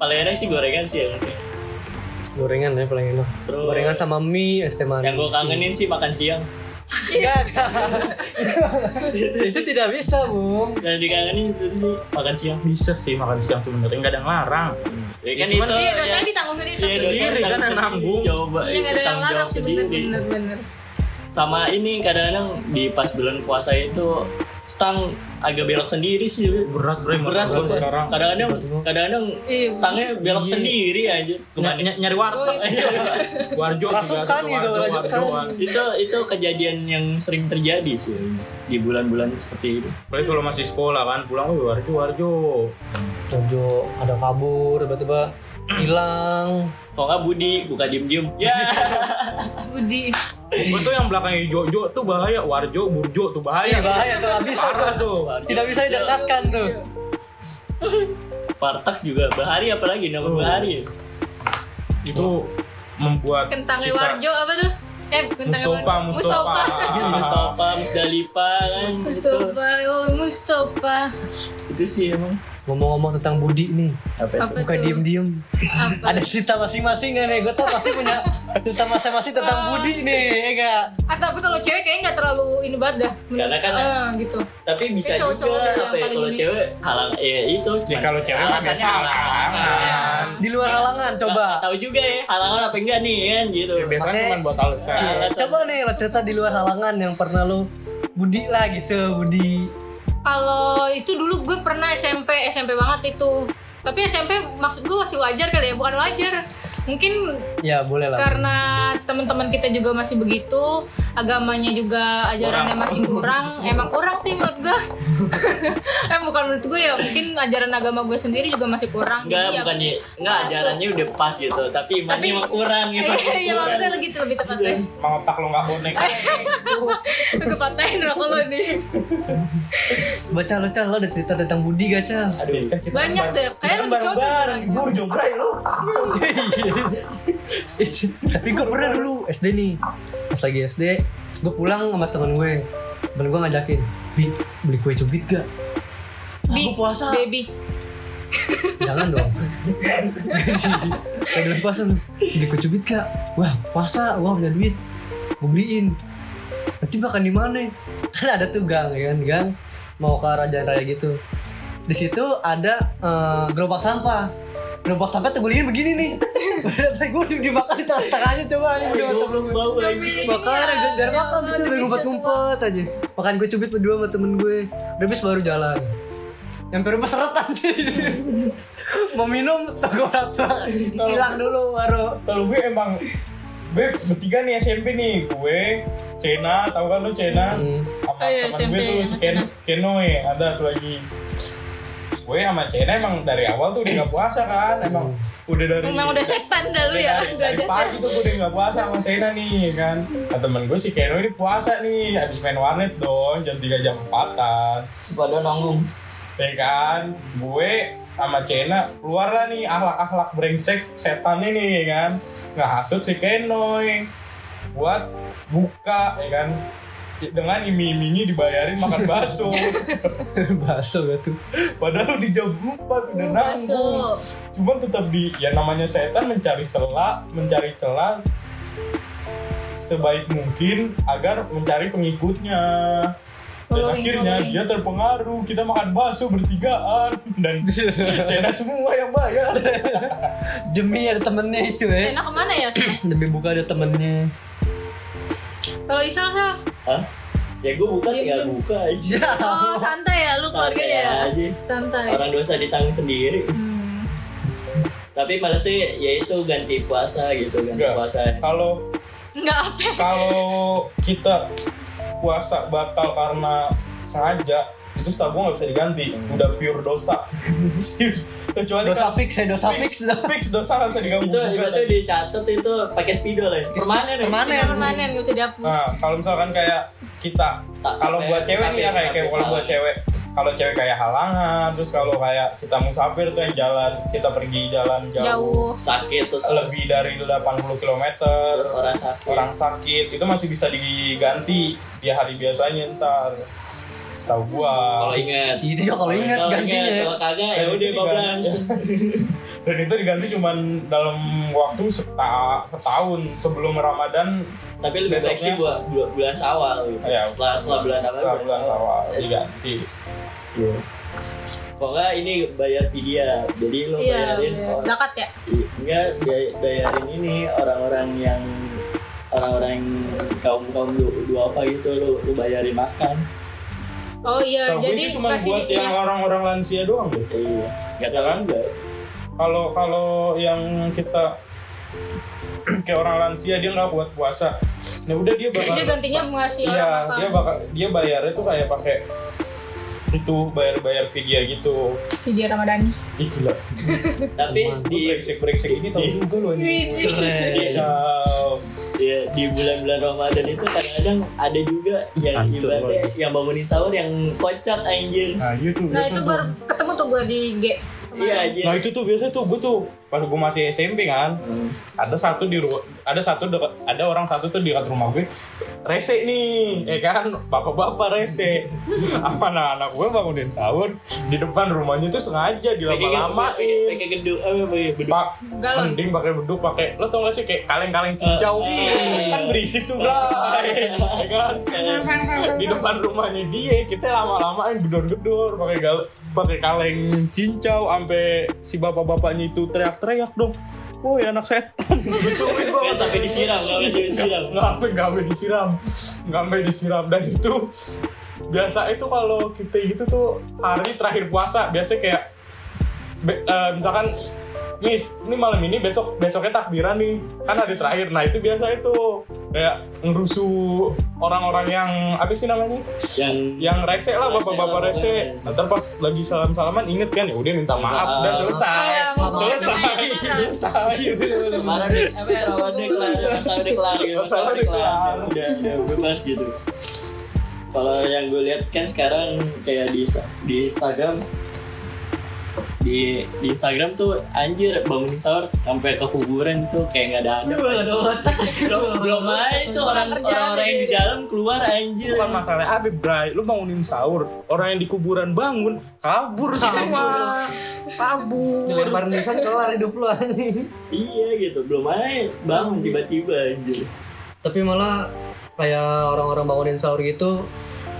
S2: paling enak sih gorengan sih ya.
S1: Gorengan ya paling enak.
S2: Terus-
S1: Gorengan sama mie, es teh manis.
S2: Yang gue kangenin sih makan siang.
S1: Enggak, enggak. itu tidak bisa, Bung.
S2: Yang dikangenin itu sih makan siang.
S3: bisa sih makan siang sebenarnya nggak ada ngarang
S2: Ya kan
S3: Cuman
S2: itu.
S4: Iya
S2: ya.
S4: dosanya ditanggung sendiri
S2: Iya,
S4: tapi-
S2: dosen
S3: Sendiri kan
S2: tanggung
S3: yang
S2: sendiri.
S3: nanggung.
S2: Coba
S4: Iya nggak ada yang
S2: tanggung
S4: larang
S2: jawab
S4: sih
S2: sendiri.
S4: bener-bener
S2: Sama ini kadang-kadang di pas bulan puasa itu stang agak belok sendiri sih
S3: berat bray
S2: berat
S3: makan
S2: soalnya
S3: sekarang
S2: kadang-kadang kadang-kadang
S4: Iya.
S2: stangnya belok sendiri aja
S3: Ny-
S2: kemana
S3: ny- nyari warteg
S4: Oh, iya.
S3: warjo juga
S1: Rasukan
S3: satu
S1: gitu,
S3: warjo,
S1: rasukan.
S3: warjoan.
S2: itu itu kejadian yang sering terjadi sih di bulan-bulan seperti ini
S3: Apalagi kalau masih sekolah kan pulang, wih warjo warjo.
S1: Jojo ada kabur tiba-tiba hilang.
S2: kalau nggak Budi buka diem-diem ya
S4: Budi
S3: Gue tuh yang belakangnya Jojo tuh bahaya, warjo burjo tuh bahaya.
S1: Iya, bahaya tuh, nggak bisa kan?
S3: Parah
S1: tuh.
S3: tuh.
S1: Tidak bisa didekatkan tuh.
S2: Partak juga bahari apalagi nama
S3: Oh.
S2: bahari
S3: Itu membuat
S4: Kentangnya
S3: kita-
S4: Warjo apa tuh? Eh kentangnya
S3: Mustopa,
S4: Warjo
S3: Mustopa.
S2: Iya,
S3: Ah.
S2: Mustafa Musdalipa kan itu,
S4: Mustopa Oh Mustopa
S2: itu sih emang
S1: Ngomong-ngomong tentang Budi nih,
S2: apa itu
S4: Apa
S1: bukan
S4: tuh?
S1: diem-diem.
S4: Apa?
S1: Ada cerita masing-masing kan ya? Gue tau pasti punya cerita masing-masing tentang Budi nih, ya nggak?
S4: Ah, tapi kalau cewek kayaknya nggak terlalu ini banget dah.
S2: Karena kan-
S4: Ah, gitu.
S2: tapi bisa
S4: Kayak cowok-cowok
S2: juga
S4: yang
S2: apa ya
S4: paling
S2: kalau
S4: ini.
S2: cewek halang ya itu
S3: Ya
S2: cuman
S3: kalau cewek mah biasa
S2: alasannya
S1: Iya.
S3: halangan.
S1: Di luar halangan coba.
S2: Nggak tahu juga ya halangan apa enggak nih kan gitu
S3: Biasanya
S1: Makanya-
S3: cuma buat alasan.
S1: Iya, Coba nih lo cerita di luar halangan yang pernah lo Budi lah gitu, Budi.
S4: Kalau itu dulu gue pernah SMP, SMP banget itu. Tapi SMP maksud gue masih wajar kali ya, bukan wajar. Mungkin
S1: Ya boleh lah.
S4: karena teman-teman kita juga masih begitu, agamanya juga ajarannya masih kurang. Emang kurang sih menurut gue. eh bukan menurut gue ya, mungkin ajaran agama gue sendiri juga masih kurang.
S2: enggak
S4: Jadi ya-
S2: bukan ya enggak ajarannya udah pas gitu tapi imannya
S4: Tapi-
S2: emang kurang
S4: Iya,
S2: gitu
S4: Iya, maksudnya gitu lebih tepatnya.
S3: Emang otak lo nggak bonek.
S4: Aku katain rokok lo nih.
S1: Baca lo Cal, lo ada cerita tentang Budi gak Cal?
S2: aduh
S4: Banyak deh, kayak lebih cocok.
S3: Burjo bray lo.
S1: Iya. tapi gue pernah dulu SD nih pas lagi SD gue pulang sama temen gue temen gue ngajakin bi beli kue cubit gak
S4: Bi,
S5: puasa.
S4: baby.
S1: jangan dong kayak bulan puasa tuh beli kue cubit gak wah puasa wah punya duit gue beliin nanti makan di mana kan ada tuh gang ya kan gang mau ke Raja Raya gitu di situ ada eh, gerobak sampah gerobak sampah tuh gue lihat begini nih tapi gue dimakan di tengah-tengahnya coba aja
S2: bau lagi.
S1: Makanya biar, biar
S4: Iya,
S1: makan
S3: gitu,
S4: jangan,
S1: itu biar
S4: lebih
S1: ngumpet-ngumpet aja. Makan gue cubit berdua sama temen gue. Udah habis baru jalan. Nyampe rumah seret anjir. Mau minum tunggu rata. Hilang dulu baru.
S3: kalau gue emang gue bertiga nih SMP nih gue Cena tau kan lu Cena
S1: Hmm.
S3: sama
S4: Oh iya,
S3: teman
S4: SMP
S3: gue tuh si
S4: ya, Mas
S3: Ken
S4: Cena.
S3: Kenoe ada tuh lagi gue sama Cena emang dari awal tuh udah gak puasa kan emang udah dari
S4: Memang udah setan dah lu
S3: dari,
S4: ya.
S3: dari-
S4: Udah
S3: dari
S4: ada.
S3: pagi tuh gue udah gak puasa sama Sena nih kan nah, temen gue si Keno ini puasa nih habis main warnet dong jam 3 jam 4an
S6: Pada nanggung.
S3: ya kan gue sama Cena keluar lah nih akhlak-akhlak brengsek setan ini ya kan nggak hasut si Kenoy buat buka ya kan dengan iming-imingi dibayarin makan bakso
S1: Baso gak tuh.
S3: padahal di jam 4 udah
S4: Oh,
S3: nanggung
S4: bakso.
S3: cuman tetap di ya namanya setan mencari sela mencari celah sebaik mungkin agar mencari pengikutnya dan
S4: Following,
S3: akhirnya
S4: following.
S3: dia terpengaruh kita makan bakso bertigaan dan cena semua yang bayar
S1: Demi ada temennya itu ya.
S3: Eh.
S4: Sena kemana ya? Sena?
S1: Demi buka ada temennya.
S4: Kalau Isal Sal?
S2: Hah? Ya gue buka tinggal buka aja.
S4: Iya, Oh santai ya lu keluarga
S2: Santai
S4: ya.
S2: aja.
S4: Santai. Hmm.
S2: Orang dosa ditanggung sendiri. Tapi malah sih ya itu ganti puasa gitu, ganti
S3: Enggak.
S2: puasa.
S3: kalau
S4: Enggak apa.
S3: kalau kita puasa batal karena sengaja itu setahu gue nggak bisa diganti udah pure dosa kecuali
S1: Dosa
S3: kalau-
S1: fix ya, dosa fix.
S3: fix dosa nggak bisa diganggu
S2: Itu
S3: gugat.
S2: itu dicatat itu pakai spidol ya. Permanen ya.
S4: Permanen. Permanen gak usah dihapus.
S3: Nah, kalau misalkan kayak kita,
S2: Tak
S3: kalau
S2: sampai-
S3: buat cewek nih ya
S2: sampai-
S3: kayak,
S2: sampai
S3: kayak kalau buat
S2: halangan.
S3: cewek, kalau cewek kayak halangan, terus kalau kayak kita musafir tuh yang jalan, kita pergi jalan jauh,
S4: Jauh.
S2: Sakit terus
S3: lebih dari 80 km,
S2: terus orang sakit.
S3: orang sakit itu masih bisa diganti di hari biasanya ntar. Tahu gua.
S2: Kalau ingat.
S1: Itu juga kalau ingat
S2: Kalau
S1: gantinya.
S2: ingat, Kalau kagak ya
S3: Ganti
S2: udah
S3: diganti. 15. Dan itu diganti cuman dalam waktu seta- setahun sebelum Ramadan
S2: 15. Tapi lebih baik sih
S3: Besoknya-
S2: buat bulan, bulan Sawal gitu.
S3: Ya,
S2: setelah setelah bulan Sawal.
S3: setelah bulan awal
S2: Jadi,
S3: diganti.
S2: Iya. Kalau nggak ini bayar vidya. Jadi lo
S4: Iya.
S2: bayarin
S4: iya.
S2: orang
S4: Zakat ya.
S2: enggak bay- bayarin ini orang-orang yang orang-orang kaum kaum lu lu apa gitu lu lu bayarin makan
S4: Oh iya.
S3: Kalau gue
S4: Jadi
S3: ini cuma
S4: kasih
S3: buat yang orang-orang lansia doang deh.
S2: Ya, iya nggak tahu
S3: Jangan.
S2: enggak
S3: Kalau kalau yang kita kayak orang lansia dia nggak buat puasa. Nah udah dia
S4: Terus
S3: bakal
S4: dia gantinya ngasih
S3: iya
S4: orang
S3: dia
S4: makan.
S3: bakal dia bayarnya tuh kayak pakai itu bayar-bayar video gitu.
S4: Video Nah, Ramadhani.
S3: Ih gila.
S2: tapi di
S3: brengsek brengsek ini tau juga loh ini.
S2: di-
S3: Kacau.
S2: ya, di bulan-bulan Ramadan itu kadang-kadang ada juga yang ibaratnya yang bangunin sahur yang kocak anjir
S3: Nah itu
S4: Nah itu baru ketemu tuh gue di IG.
S2: iya anjir
S3: Nah itu tuh biasanya tuh gue tuh pas gue masih SMP kan, ada satu di ru- ada satu dekat, ada orang satu tuh di dekat rumah gue, rese nih, ya kan, bapak-bapak rese, apa anak-anak gue bangunin sahur di depan rumahnya tuh sengaja
S2: Pakai-
S3: dilama-lamain,
S2: pakai gedung apa ya, pakai beduk
S3: pak
S4: Galon.
S3: mending pakai beduk pakai lo tau gak sih kayak kaleng-kaleng cincau
S2: Eh.
S3: kan berisik tuh guys ya kan di depan rumahnya dia kita lama-lamaan gedor-gedor pakai gal pakai kaleng cincau sampai si bapak-bapaknya itu teriak-teriak dong woi anak setan gituin
S2: Nggak sampai disiram nggak sampai disiram
S3: nggak sampai nggak sampai disiram nggak sampai disiram dan itu biasa itu kalau kita gitu tuh hari terakhir puasa biasanya kayak be- eh, misalkan nih ini malam ini besok besoknya takbiran nih kan hari terakhir nah itu biasa itu kayak ngerusuh orang-orang yang apa sih namanya
S2: yang
S3: yang rese lah
S2: Rese lah,
S3: bapak-bapak rese
S2: bapak-bapak.
S3: nah, ntar pas lagi salam-salaman inget kan ya udah minta maaf udah
S2: maaf.
S3: selesai
S4: Iya, ngomong
S3: selesai
S4: sama Iya, yang benar.
S3: selesai gitu
S2: kemarin nih apa ya rawannya kelar masalahnya kelar gitu masalahnya
S3: Masalahnya
S2: kelar
S3: kelar.
S2: udah udah Iya, bebas gitu kalau yang gue lihat kan sekarang kayak di di Instagram di di Instagram tuh anjir bangun sahur sampai ke kuburan tuh kayak nggak ada ada
S1: ada otak.
S2: belum belum aja tuh orang
S4: Orang kerja
S2: orang orang yang di
S4: aja.
S2: dalam keluar anjir
S3: bukan masalah Abi Bray lu bangunin sahur orang yang di kuburan bangun kabur semua kabur
S1: Dilempar nisan kelar hidup lu anjing.
S2: iya gitu belum aja bangun tiba-tiba anjir
S1: Tapi malah kayak orang-orang bangunin sahur gitu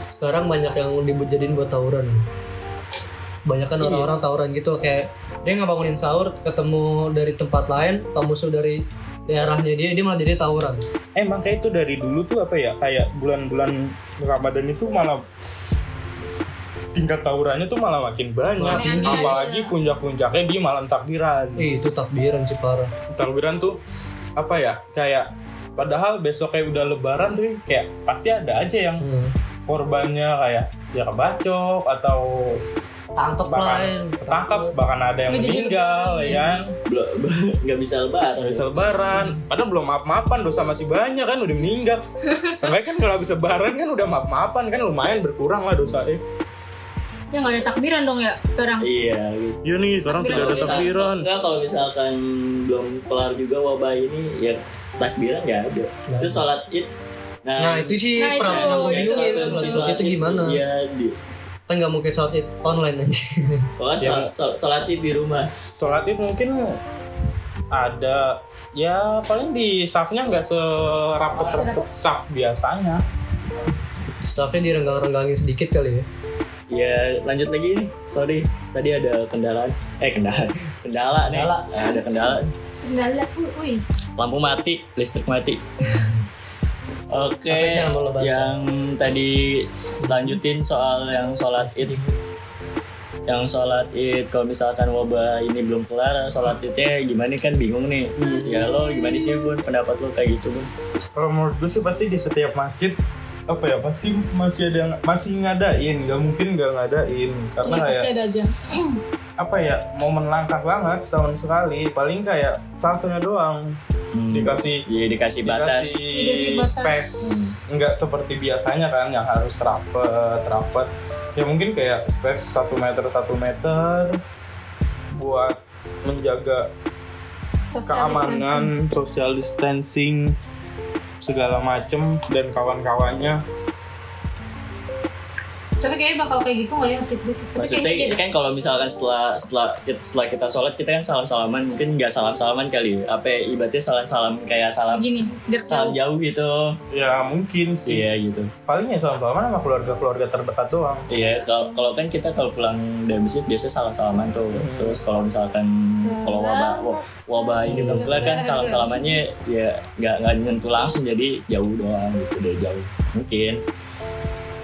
S1: sekarang banyak yang dijadiin buat tawuran. Banyak kan
S2: Iya.
S1: orang-orang tawuran gitu kayak dia nggak bangunin sahur ketemu dari tempat lain, atau musuh dari daerahnya dia dia malah jadi tawuran.
S3: eh makanya itu dari dulu tuh apa ya kayak bulan-bulan Ramadan itu malah tingkat tawurannya tuh malah makin banyak
S4: Makin banyak. iya.
S3: apalagi puncak-puncaknya di malam takbiran
S1: Ih, itu takbiran sih parah.
S3: takbiran tuh apa ya kayak padahal besok kayak udah lebaran tuh kayak pasti ada aja yang
S4: Iya.
S1: Hmm.
S3: korbannya kayak ya kebacok atau
S1: Tangkep lah.
S3: bahkan tangkap bahkan ada yang
S4: Nggak jadi
S3: meninggal
S4: lebaran,
S3: ya
S4: ya.
S3: kan
S2: belum nggak bisa lebaran
S3: habis lebaran padahal belum maaf-maafan dosa masih banyak kan udah meninggal Makanya kan kalau habis lebaran kan udah maaf-maafan kan lumayan berkurang lah dosa eh
S4: Ya nggak ada takbiran dong ya sekarang.
S2: iya gitu
S3: iya nih sekarang tidak ada
S4: Takbiran.
S3: takbiran
S2: Enggak kalau misalkan belum kelar juga wabah ini ya takbiran nggak ada. Itu sholat id.
S1: Nah, itu sih
S4: Nah, itu,
S1: perang nanggung
S4: itu,
S1: juga
S4: itu.
S1: Sholat
S2: sholat
S1: itu
S2: Id,
S1: gimana?
S2: Iya di.
S1: Kan nggak mungkin sholat id online aja.
S2: Pokoknya sholat, sholat, sholat id di rumah.
S3: sholat id mungkin ada ya paling di safnya nggak serapet-rapet saf biasanya
S1: Staffnya direnggang-renggangin sedikit kali ya.
S2: Ya lanjut lagi nih. Sorry tadi ada kendaraan. Eh kendaraan. Kendala nih.
S1: Kendala.
S2: Eh, ada kendala.
S4: Nggak ada. Wih,
S2: Lampu mati, listrik mati. Oke,
S1: Apa sih yang mau lo bahas?
S2: yang tadi lanjutin soal yang sholat id yang sholat id kalau misalkan wabah ini belum kelar sholat idnya gimana kan bingung nih
S1: Hmm.
S2: ya lo gimana sih bun pendapat lo kayak gitu bun
S3: kalau menurut gue sih pasti di setiap masjid apa ya pasti masih ada yang masih ngadain nggak mungkin nggak ngadain karena ya
S4: ini Iya, pasti ada aja.
S3: apa ya momen langka banget setahun sekali paling kayak satunya doang Hmm. dikasih
S2: ya dikasih batas
S4: Dikasih
S3: dikasih
S4: batas. Hmm.
S3: space nggak seperti biasanya kan yang harus rapet rapet ya mungkin kayak space satu meter satu meter buat menjaga
S4: Social distancing.
S3: keamanan social distancing segala macem dan kawan-kawannya
S4: Tapi kayaknya bakal kayak gitu nggak ya masih gitu. Tapi
S2: maksudnya
S4: kayaknya
S2: kan kalau misalkan setelah setelah setelah kita sholat kita kan salam salaman mungkin nggak salam salaman kali ya. apa ibaratnya salam salam kayak
S4: jadi
S2: salam
S4: gini, jarak
S2: salam
S4: jauh.
S2: jauh gitu
S3: ya mungkin sih
S2: iya gitu
S3: paling ya sama-sama sama keluarga-keluarga terdekat doang
S2: Iya, kalau kalau kan kita kalau pulang dari masjid biasanya salam-salaman tuh. Terus kalau misalkan kalau wabah wa- wabah ini terus kan salam-salamannya ya nggak nggak nyentuh langsung jadi jauh doang gitu deh jauh. Mungkin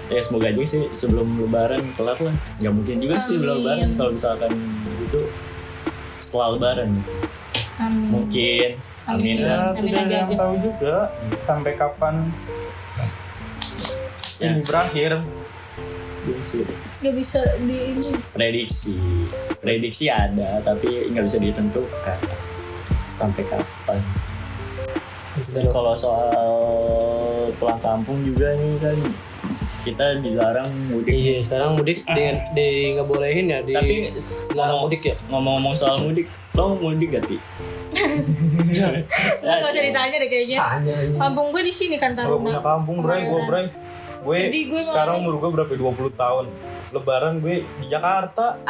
S2: ya semoga aja sih sebelum lebaran kelar lah. Nggak mungkin juga sih sebelum
S4: Amin.
S2: lebaran kalau misalkan itu setelah lebaran
S4: Amin.
S2: mungkin. Amin.
S4: Hmm. Amin.
S2: lah.
S3: ya
S4: Iya, Amin
S3: tidak
S4: aja
S3: ada yang
S4: aja.
S3: tahu juga sampai kapan
S2: Ya.
S3: ini berakhir
S2: Iya sih.
S4: Gak bisa di ini.
S2: Prediksi, prediksi ada tapi nggak bisa ditentukan sampai kapan. Dan kalau soal pulang kampung juga nih kan kita dilarang mudik.
S1: Iya, sekarang mudik di, di nggak bolehin ya di
S2: Tapi
S1: larang mudik ya.
S2: ngomong-ngomong soal mudik, lo mudik gak ti?
S4: Lo gak usah ditanya deh kayaknya.
S1: Tanya aja.
S4: Kampung gue di sini kan
S3: Kalau punya
S4: Taruna.
S3: kampung, Bray, gue Bray. Gue
S4: Sedih gue
S3: sekarang umur gue berapa? 20 tahun. Lebaran gue di Jakarta.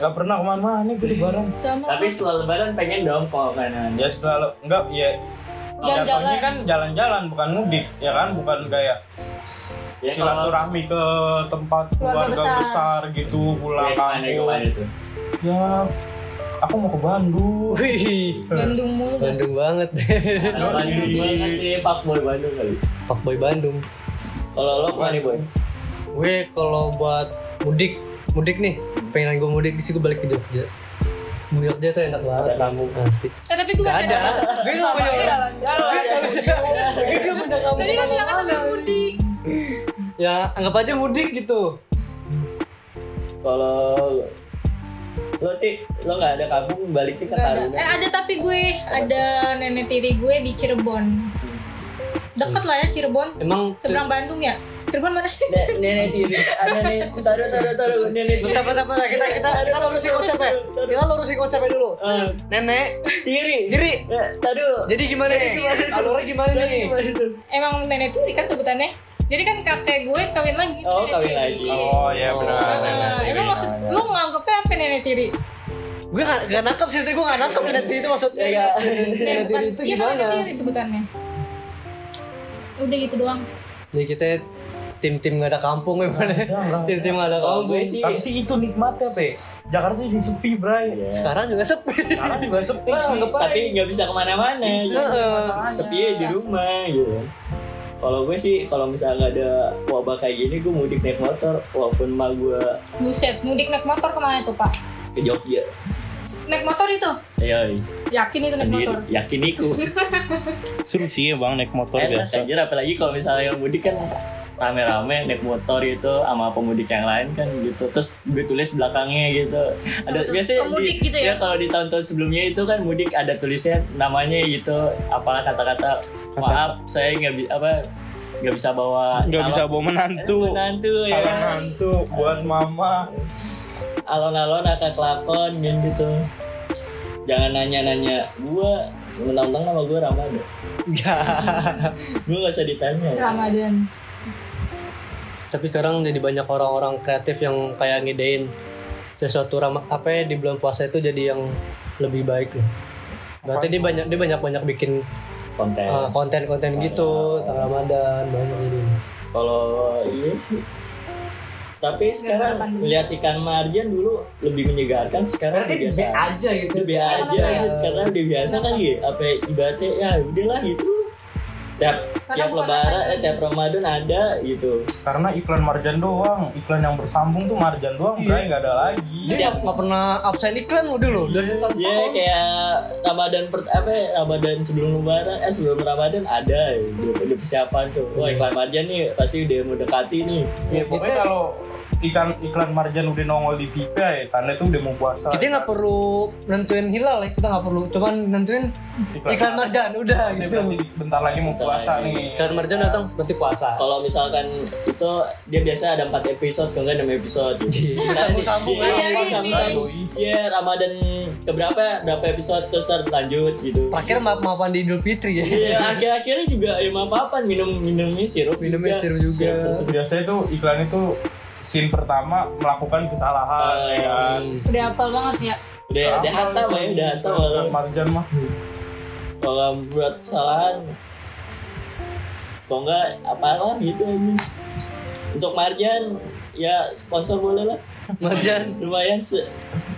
S3: Gak pernah kemana-mana gue lebaran.
S4: Sama
S2: Tapi setelah lebaran pengen dong kalau kanan.
S3: Ya selalu, enggak, ya
S4: Jalan-jalan.
S3: jatuhnya kan jalan-jalan bukan mudik ya kan bukan kayak
S2: Ya kalau
S3: silaturahmi ke tempat
S4: Keluarga
S3: keluarga,
S4: besar.
S3: besar. gitu pulang
S2: yang kemana yang kemana
S3: kampung
S2: tuh?
S3: ya aku mau ke Bandung
S1: Wih,
S4: Bandung mulu. gak?
S1: Bandung banget.
S2: Ada Bandung banget sih, Pak Boy Bandung kali.
S1: Fuckboy Bandung.
S2: Kalau lo kemana boy?
S1: Gue kalau buat mudik, mudik nih, pengenan gue mudik sih gue balik ke Jogja. Jogja tuh enak banget. kamu asik.
S4: Eh tapi gue masih ada.
S1: Gue nggak punya Iya, Gue nggak punya kampung
S4: Tadi kan bilang kan sama Budi.
S1: Ya anggap aja mudik gitu.
S2: Kalau lo ti lo nggak ada kampung baliknya ke
S4: Gak ada.
S2: Taruna.
S4: Eh ada tapi gue ada nenek tiri gue di Cirebon. Deket lah ya Cirebon.
S1: Emang
S4: Seberang Bandung ya? Cirebon mana sih?
S2: Ne- nenek tiri ada nenek taruh taruh taruh nenek tiri
S1: Bentar, bentar, bentar. Kita, kita, kita lurusin konsepnya. Kita lurusin konsepnya dulu. Nenek,
S2: tiri
S1: diri.
S2: Eh, taruh
S1: Jadi gimana nih? Alurnya gimana nih?
S4: Emang nenek tiri kan sebutannya. Jadi kan kakek gue kawin lagi.
S2: Oh,
S4: nenek
S2: kawin
S4: tiri.
S2: lagi.
S3: Oh ya benar.
S4: Ah,
S3: benar.
S4: emang maksud lu nganggepnya apa nenek tiri?
S1: Gue gak, gak nangkep sih, gue gak nangkep nenek tiri itu maksudnya.
S2: ya
S1: Nenek tiri itu
S4: iya kan
S1: gimana?
S4: nenek tiri sebutannya. Udah gitu doang.
S1: Jadi kita tim-tim gak ada kampung gimana? Tim-tim gak ada
S2: kalau
S1: kampung.
S2: gue sih
S5: Tapi sih itu nikmatnya, Pe. Jakarta jadi sepi, Bray.
S3: Iya.
S1: Sekarang juga sepi.
S5: Sekarang juga sepi.
S2: Nah,
S5: sih.
S2: tapi nggak bisa kemana-mana gitu. sepi aja di rumah gitu kalau gue sih kalau misalnya nggak ada wabah kayak gini gue mudik naik motor walaupun mah gue
S4: Buset, mudik naik motor kemana tuh pak?
S2: ke Jogja
S4: Naik motor itu?
S2: Ayo,
S4: Yakin itu naik
S2: sendiri
S4: motor?
S2: yakin iku
S3: Seru sih ya bang naik motor
S2: enak
S3: biasa.
S2: anjir apalagi kalau misalnya yang mudik kan rame-rame naik motor itu sama pemudik yang lain kan gitu terus gue tulis belakangnya gitu ada
S4: tuh?
S2: biasanya
S4: Pemudik
S2: di,
S4: gitu ya?
S2: kalau di tahun-tahun sebelumnya itu kan mudik ada tulisnya namanya gitu apalah kata-kata maaf saya nggak bi- apa nggak bisa bawa
S3: Gak bisa
S2: alon-
S3: bawa menantu.
S2: menantu ya
S3: Kalau hantu buat mama.
S2: alon-alon akan kelakon dan gitu jangan nanya-nanya gue mentang-mentang nama gue Ramadan gue gak usah ditanya
S4: Ramadan.
S1: tapi sekarang jadi banyak orang-orang kreatif yang kayak ngidein sesuatu ram apa ya, di bulan puasa itu jadi yang lebih baik loh berarti dia banyak dia banyak banyak bikin
S2: konten
S3: Oh,
S1: uh, konten-konten gitu tentang Ramadan banyak gitu
S2: Kalau iya sih. Tapi sekarang melihat ikan marjan dulu lebih menyegarkan sekarang udah biasa.
S1: aja gitu
S2: Udah biasa aja karena udah biasa kan gitu. Apa ibaratnya ya udahlah itu. Tiap tiap lebaran eh, tiap Ramadan ada gitu.
S3: Karena iklan marjan doang, iklan yang bersambung tuh marjan doang,
S5: Iya.
S3: Bray nggak ada lagi.
S1: dia nggak- nggak pernah absen iklan loh dulu dari tahun
S2: Ya kayak Ramadan per, apa ya, Ramadan sebelum lebaran eh sebelum Ramadan ada ya, udah, udah persiapan tuh. Wah iklan marjan nih pasti udah mendekati nih.
S5: Iya,
S3: Ya pokoknya kalau ikan iklan marjan udah nongol di TV ya, tanda itu udah mau puasa.
S1: kita nggak perlu nentuin hilal ya kita nggak perlu cuman nentuin
S3: Iklan.
S1: iklan marjan udah
S3: Ini
S1: gitu
S3: berarti bentar lagi mau puasa nih.
S1: iklan marjan datang berarti puasa
S2: kalau misalkan itu dia biasa ada empat episode kalau nggak enam episode gitu.
S1: Iya, sambung-sambung
S2: Iya,
S4: ya.
S2: sambung-sambung. Iya, Ramadan keberapa berapa episode terus ntar lanjut gitu.
S1: terakhir maaf maafan di Idul Fitri ya
S2: Iya, akhir-akhirnya juga ya maaf apaan minum minumnya sirup.
S1: Minumnya sirup juga.
S2: terus-
S3: Biasanya tuh iklan itu scene pertama melakukan kesalahan
S5: Ah,
S2: Oh,
S3: ya kan.
S4: Udah hafal banget ya.
S2: Udah udah hatam ya, udah hatam
S3: Iklan marjan mah.
S2: kalau buat kesalahan. Kalau nggak apalah gitu aja. Untuk Marjan ya sponsor boleh lah.
S1: marjan
S2: Lumayan se-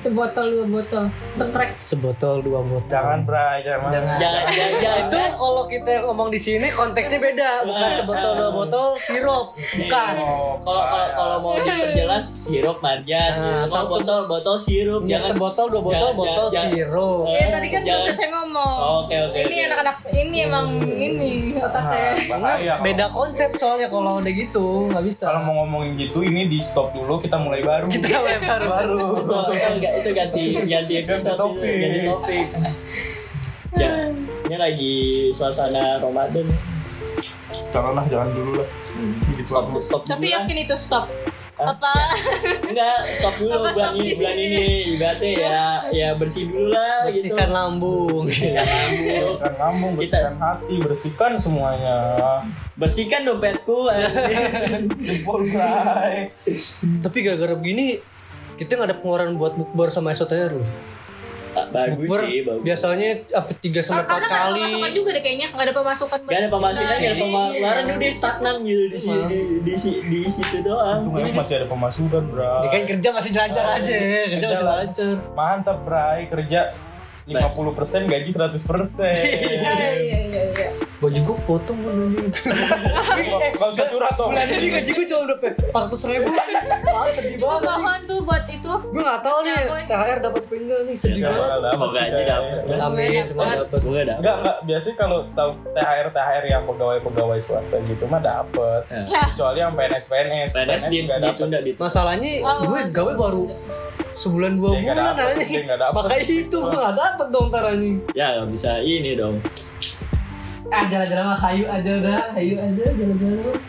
S4: Sebotol dua botol. Sekrek.
S1: sebotol dua botol Ya,
S3: Jangan Bray, jangan.
S2: jangan jangan, jangan.
S1: itu kalau kita ngomong di sini konteksnya beda bukan sebotol dua botol sirup bukan
S3: Oh,
S2: kalau kalau kalau mau diperjelas sirup marjan mau
S1: Nah, satu-
S2: botol botol sirup
S1: Jangan
S2: jangan
S1: Ya, sebotol dua botol
S2: jangan-
S1: botol
S2: jangan-
S1: sirup
S2: Eh,
S4: Ya tadi kan
S2: jangan.
S4: udah saya ngomong.
S2: Oh, Oke, oke,
S4: Ini
S2: oke.
S4: anak-anak ini emang ini otaknya.
S3: bahaya. kalau-
S1: beda konsep soalnya kalau udah gitu nggak bisa
S3: Kalau mau ngomongin gitu ini di stop dulu kita mulai baru.
S1: kita lebar Iya, baru
S2: Itu- itu enggak itu ganti ganti episode itu,
S3: topik.
S2: ganti topik ya ini lagi suasana Ramadan
S3: Jangan lah, jangan dulu lah. Gitu
S2: stop
S3: lah.
S2: stop
S4: Tapi
S2: dulu lah.
S4: yakin itu stop.
S2: Ah,
S4: Apa?
S2: enggak stop dulu
S4: Apa
S2: bulan
S4: stop
S2: ini
S4: di
S2: bulan
S4: sini?
S2: ini ibaratnya ya ya bersih dulu lah gitu
S1: bersihkan lambung
S2: Bersihkan lambung.
S3: Bersihkan lambung,
S2: Kita-
S3: kan bersihkan hati, bersihkan semuanya.
S2: bersihkan dompetku anjing.
S3: Jempol Bray.
S1: tapi gara-gara begini kita nggak ada pengeluaran buat bukber sama esoter loh.
S2: Ah, bagus
S1: Bukber
S2: sih bagus
S1: biasanya apa tiga sampai empat
S4: Karena nggak ada
S1: kali.
S4: pemasukan juga deh kayaknya. Nggak ada pemasukan.
S2: Gak ada pemasukan, gak ada
S4: Iya,
S2: pengeluaran
S3: iya.
S2: udah stagnan gitu di si- di, di, si- di situ doang.
S3: Untung aja kan masih ada pemasukan
S1: Ya kan
S3: Bray.
S1: kerja masih lancar aja, kerja masih
S3: Iya, lah.
S1: lancar.
S3: Mantap Bray, kerja 50% gaji 100%
S4: Iya iya iya. iya.
S1: Baju gue potong gue
S3: Gak usah curhat dong
S1: Bulan ini gaji gue cuma udah 400 ribu Ah sedih
S4: Itu
S1: banget
S4: Pohon tuh buat itu.
S1: Gue gak tau nih
S4: Boy.
S1: THR dapat apa enggak nih Sedih
S2: Dapat,
S1: banget
S3: Ya, dapat,
S2: Semoga
S3: dapat
S2: aja
S3: sih,
S2: dapat.
S3: dapat.
S1: Amin Semoga dapat
S2: Semoga dapat.
S3: Enggak, enggak. Biasanya kalau setahu THR-THR yang pegawai-pegawai swasta gitu mah dapet.
S4: Ya.
S3: Kecuali yang PNS-PNS.
S2: PNS di-
S3: nggak dapet.
S2: ditunda di
S1: Masalahnya
S4: Oh,
S1: gue gawe baru sebulan dua
S3: Dia nggak
S1: bulan
S3: dapet,
S1: aja
S3: dia nggak dapet.
S1: Makanya itu gue gak dapet dong tarani
S2: Ya gak bisa ini dong.
S1: ah jalan-jalan mah kayu aja udah kayu aja jalan-jalan mah.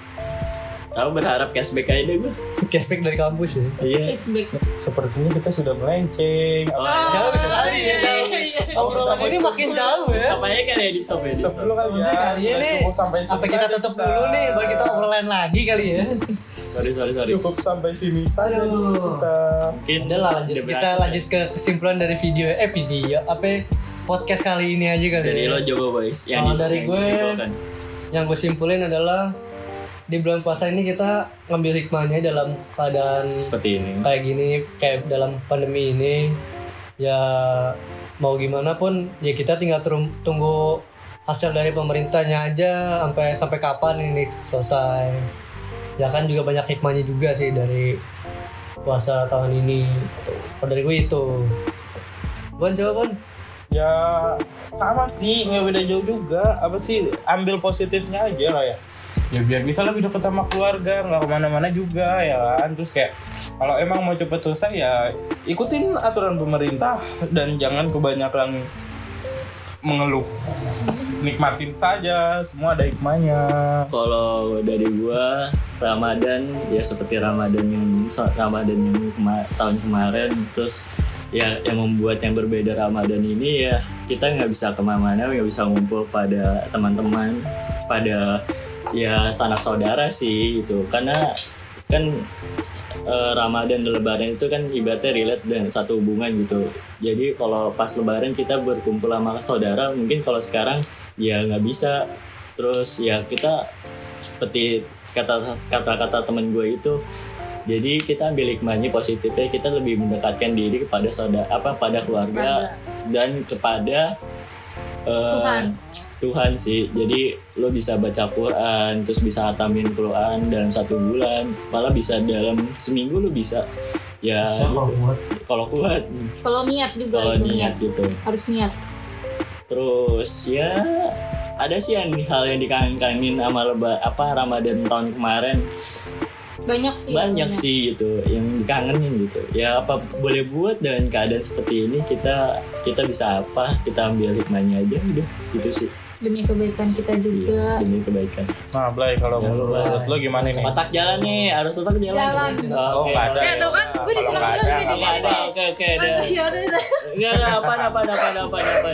S2: Tahu berharap cashback aja deh gue.
S1: cashback dari kampus ya
S2: Iya.
S4: Flashback.
S3: Sepertinya kita sudah melenceng.
S1: Oh,
S3: Apa-
S2: Jauh sekali
S4: Iya,
S2: ya.
S4: iya, iya.
S1: obrolan ini makin jauh ya Iya,
S2: Stop aja kan ya di stop ya. Di
S3: Stop
S2: stop.
S3: dulu kali ya.
S1: kali
S3: Sudah
S1: ini
S3: cukup sampai sini
S1: apa kita
S3: saja
S1: tutup dulu nih baru kita obrolan lagi kali ya
S2: Sorry sorry sorry.
S3: Cukup sampai sini saja
S1: Aduh.
S3: dulu kita.
S2: Mungkin
S1: udah lah lanjut
S2: udah
S1: kita
S2: berat.
S1: lanjut ke kesimpulan dari video eh video apa podcast kali ini aja kali
S2: Dari
S1: ya.
S2: lo coba boys. Yang
S1: Kalau
S2: di-
S1: dari
S2: yang
S1: gue-
S2: disimpulkan.
S1: yang gue simpulin adalah di bulan puasa ini kita ngambil hikmahnya dalam keadaan
S2: seperti ini.
S1: kayak gini kayak dalam pandemi ini ya mau gimana pun ya kita tinggal terum- tunggu hasil dari pemerintahnya aja sampai sampai kapan ini selesai ya kan juga banyak hikmahnya juga sih dari puasa tahun ini kalau dari gue itu Bon coba Bon
S3: Ya sama sih, nggak beda jauh juga. Apa sih ambil positifnya aja lah ya. Ya biar bisa lebih dekat sama keluarga, nggak kemana-mana juga ya kan. Terus kayak kalau emang mau cepet selesai ya ikutin aturan pemerintah dan jangan kebanyakan mengeluh. Nikmatin saja, semua ada hikmahnya.
S2: Kalau dari gua Ramadan ya seperti Ramadan yang Ramadan yang kema- tahun kemarin terus ya yang membuat yang berbeda Ramadan ini ya kita nggak bisa kemana-mana nggak bisa ngumpul pada teman-teman pada ya sanak saudara sih gitu karena kan eh, Ramadan dan Lebaran itu kan ibaratnya relate dan satu hubungan gitu jadi kalau pas Lebaran kita berkumpul sama saudara mungkin kalau sekarang ya nggak bisa terus ya kita seperti kata kata kata teman gue itu jadi kita ambil hikmahnya positifnya kita lebih mendekatkan diri kepada saudara apa pada keluarga dan kepada eh,
S4: Tuhan.
S2: Tuhan sih jadi lo bisa baca Quran terus bisa hatamin Quran dalam satu bulan malah bisa dalam seminggu lo bisa ya gitu. kalau kuat
S4: Kalau niat juga
S2: kalau
S4: itu niat.
S2: niat gitu
S4: Harus niat.
S2: Terus ya ada sih yang hal yang dikangenin sama leba, apa Ramadan tahun kemarin
S4: Banyak sih.
S2: banyak sih gitu yang dikangenin gitu ya apa boleh buat dengan keadaan seperti ini kita kita bisa apa kita ambil hikmahnya aja udah gitu sih
S4: Demi kebaikan
S2: Iya,
S4: kita juga.
S2: demi kebaikan
S3: Nah, Blay
S2: Ya,
S3: kalau
S1: Blay.
S3: menurut lo gimana nih?
S2: otak jalan nih harus otak jalan
S4: Jalan.
S2: oke
S3: Oh, nggak ada.
S4: Ya tuh kan, gue
S3: Kalau
S4: diserang
S3: nggak
S4: terus
S3: ada,
S4: nih di
S3: nggak
S4: sini
S2: apa
S4: nih.
S2: oke oke dah.
S4: Aduh, ya udah.
S2: nggak nggak apa apa apa apa apa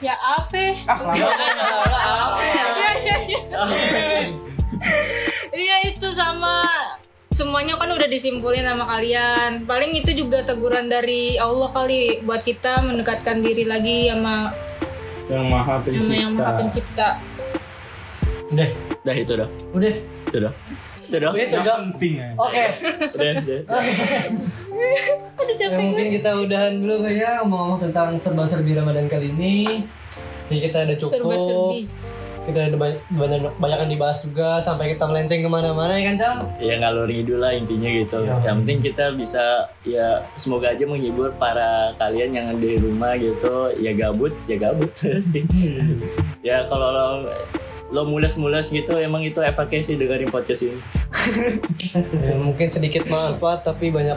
S4: Ya apa?
S2: iya,
S4: Iya, iya, iya. Iya itu sama semuanya kan udah disimpulin sama kalian. Paling itu juga teguran dari Allah kali buat kita mendekatkan diri lagi sama
S3: Yang maha
S4: sama yang
S3: pencipta.
S4: Maha Pencipta.
S1: udah
S2: dah itu dah
S1: udah
S2: itu dah itu dah
S1: udah
S3: Yang
S1: sudah
S3: penting ya.
S1: oke
S2: udah udah
S4: Aduh
S1: Ya,
S4: capek gue.
S1: mungkin kita udahan dulu kali ya ngomong tentang serba-serbi Ramadan kali ini. Jadi kita ada cukup.
S4: Serba-serbi.
S1: Kita ada banyak, banyak, banyak yang dibahas juga sampai kita melenceng kemana-mana ya kan Cal?
S2: ya ngalur ngidul lah intinya gitu
S3: Iya.
S2: yang penting kita bisa ya semoga aja menghibur para kalian yang di rumah gitu ya gabut ya gabut pasti ya kalau lo lo mules-mules gitu emang itu efeknya sih dengerin podcast ini
S1: Ya, mungkin sedikit manfaat tapi banyak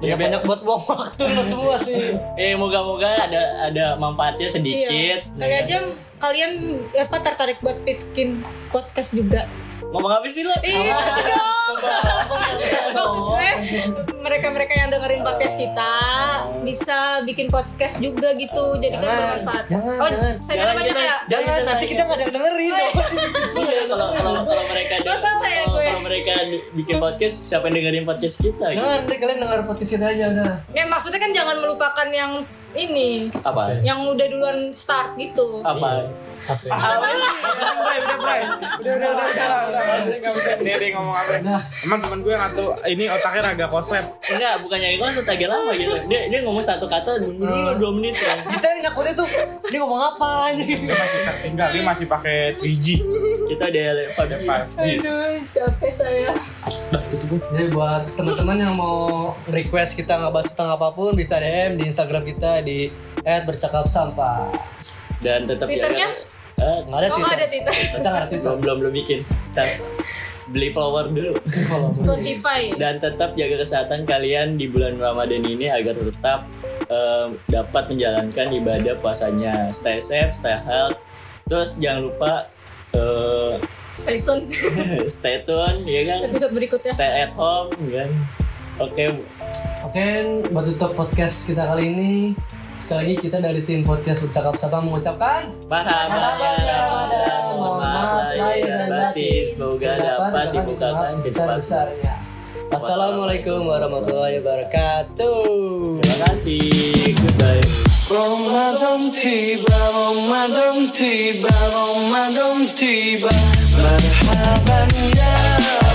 S2: Ya,
S1: banyak, banyak buat buang waktu lo semua sih.
S2: eh moga-moga ada ada manfaatnya sedikit
S4: Iya. Kali aja kalian apa tertarik buat bikin podcast juga.
S2: ngomong apa sih lo
S4: Iya dong. Maksud gue, Eh, mereka-mereka yang dengerin podcast kita bisa bikin podcast juga gitu. Jadi kan
S1: Jangan,
S4: bermanfaat.
S1: jangan,
S4: oh,
S1: jangan.
S4: saya
S2: Jangan,
S4: banyak
S2: jangan.
S4: ya.
S1: Jangan
S2: Jangan,
S1: nanti kita nggak ada yang dengerin dong.
S2: Iya, kalau kalau kalau mereka
S4: Masalah ya
S2: kalau-
S4: gue.
S2: kalau mereka di- bikin podcast siapa yang dengerin podcast kita gitu
S1: Jangan deh kalian denger podcast kita aja udah.
S4: Ya maksudnya kan jangan melupakan yang ini,
S2: apa
S4: yang udah duluan start gitu.
S2: apa
S3: Udah, udah, udah, udah, udah, udah, udah, nggak bisa sendiri ngomong apa. Emang temen gue yang satu ini otaknya raga koslet.
S2: Enggak, bukannya Eko langsung agak lama gitu. Dia dia ngomong satu kata dulu dua menit ya.
S1: Kita yang ngakuinnya tuh dia ngomong apa anjing.
S3: Dia masih tertinggal, dia masih pakai 3G,
S2: Kita ada
S3: ada
S2: level
S3: 5G.
S4: Aduh, capek saya.
S3: Udah, tutup gue.
S1: Jadi buat teman-teman yang mau request kita ngebahas tentang apapun bisa DM di Instagram kita di @bercakap sampah.
S2: dan tetap
S4: Twitternya?
S2: ya. Eh,
S1: Nggak ada
S4: Oh,
S1: Twitter.
S4: ada Twitter.
S1: Kita nggak ada Twitter.
S2: belum belum belum bikin. Kita beli flower dulu.
S1: Follow.
S4: Spotify.
S2: Dan tetap jaga kesehatan kalian di bulan Ramadan ini agar tetap eh, dapat menjalankan ibadah puasanya stay safe stay health terus jangan lupa eh,
S4: Stay tune
S2: stay tune ya kan
S4: episode berikutnya.
S2: stay at home kan oke
S1: Oke, buat tutup podcast kita kali ini. Sekali lagi kita dari tim podcast Bercakap Sapa mengucapkan
S2: Marhaban ya Ramadan, mohon maaf lahir dan batin, semoga dapat dibukakan kesempatan.
S1: besar-besarnya. Wassalamualaikum warahmatullahi wabarakatuh.
S2: Terima kasih, goodbye.
S6: Ramadan tiba, Ramadan tiba, Ramadan tiba Marhaban ya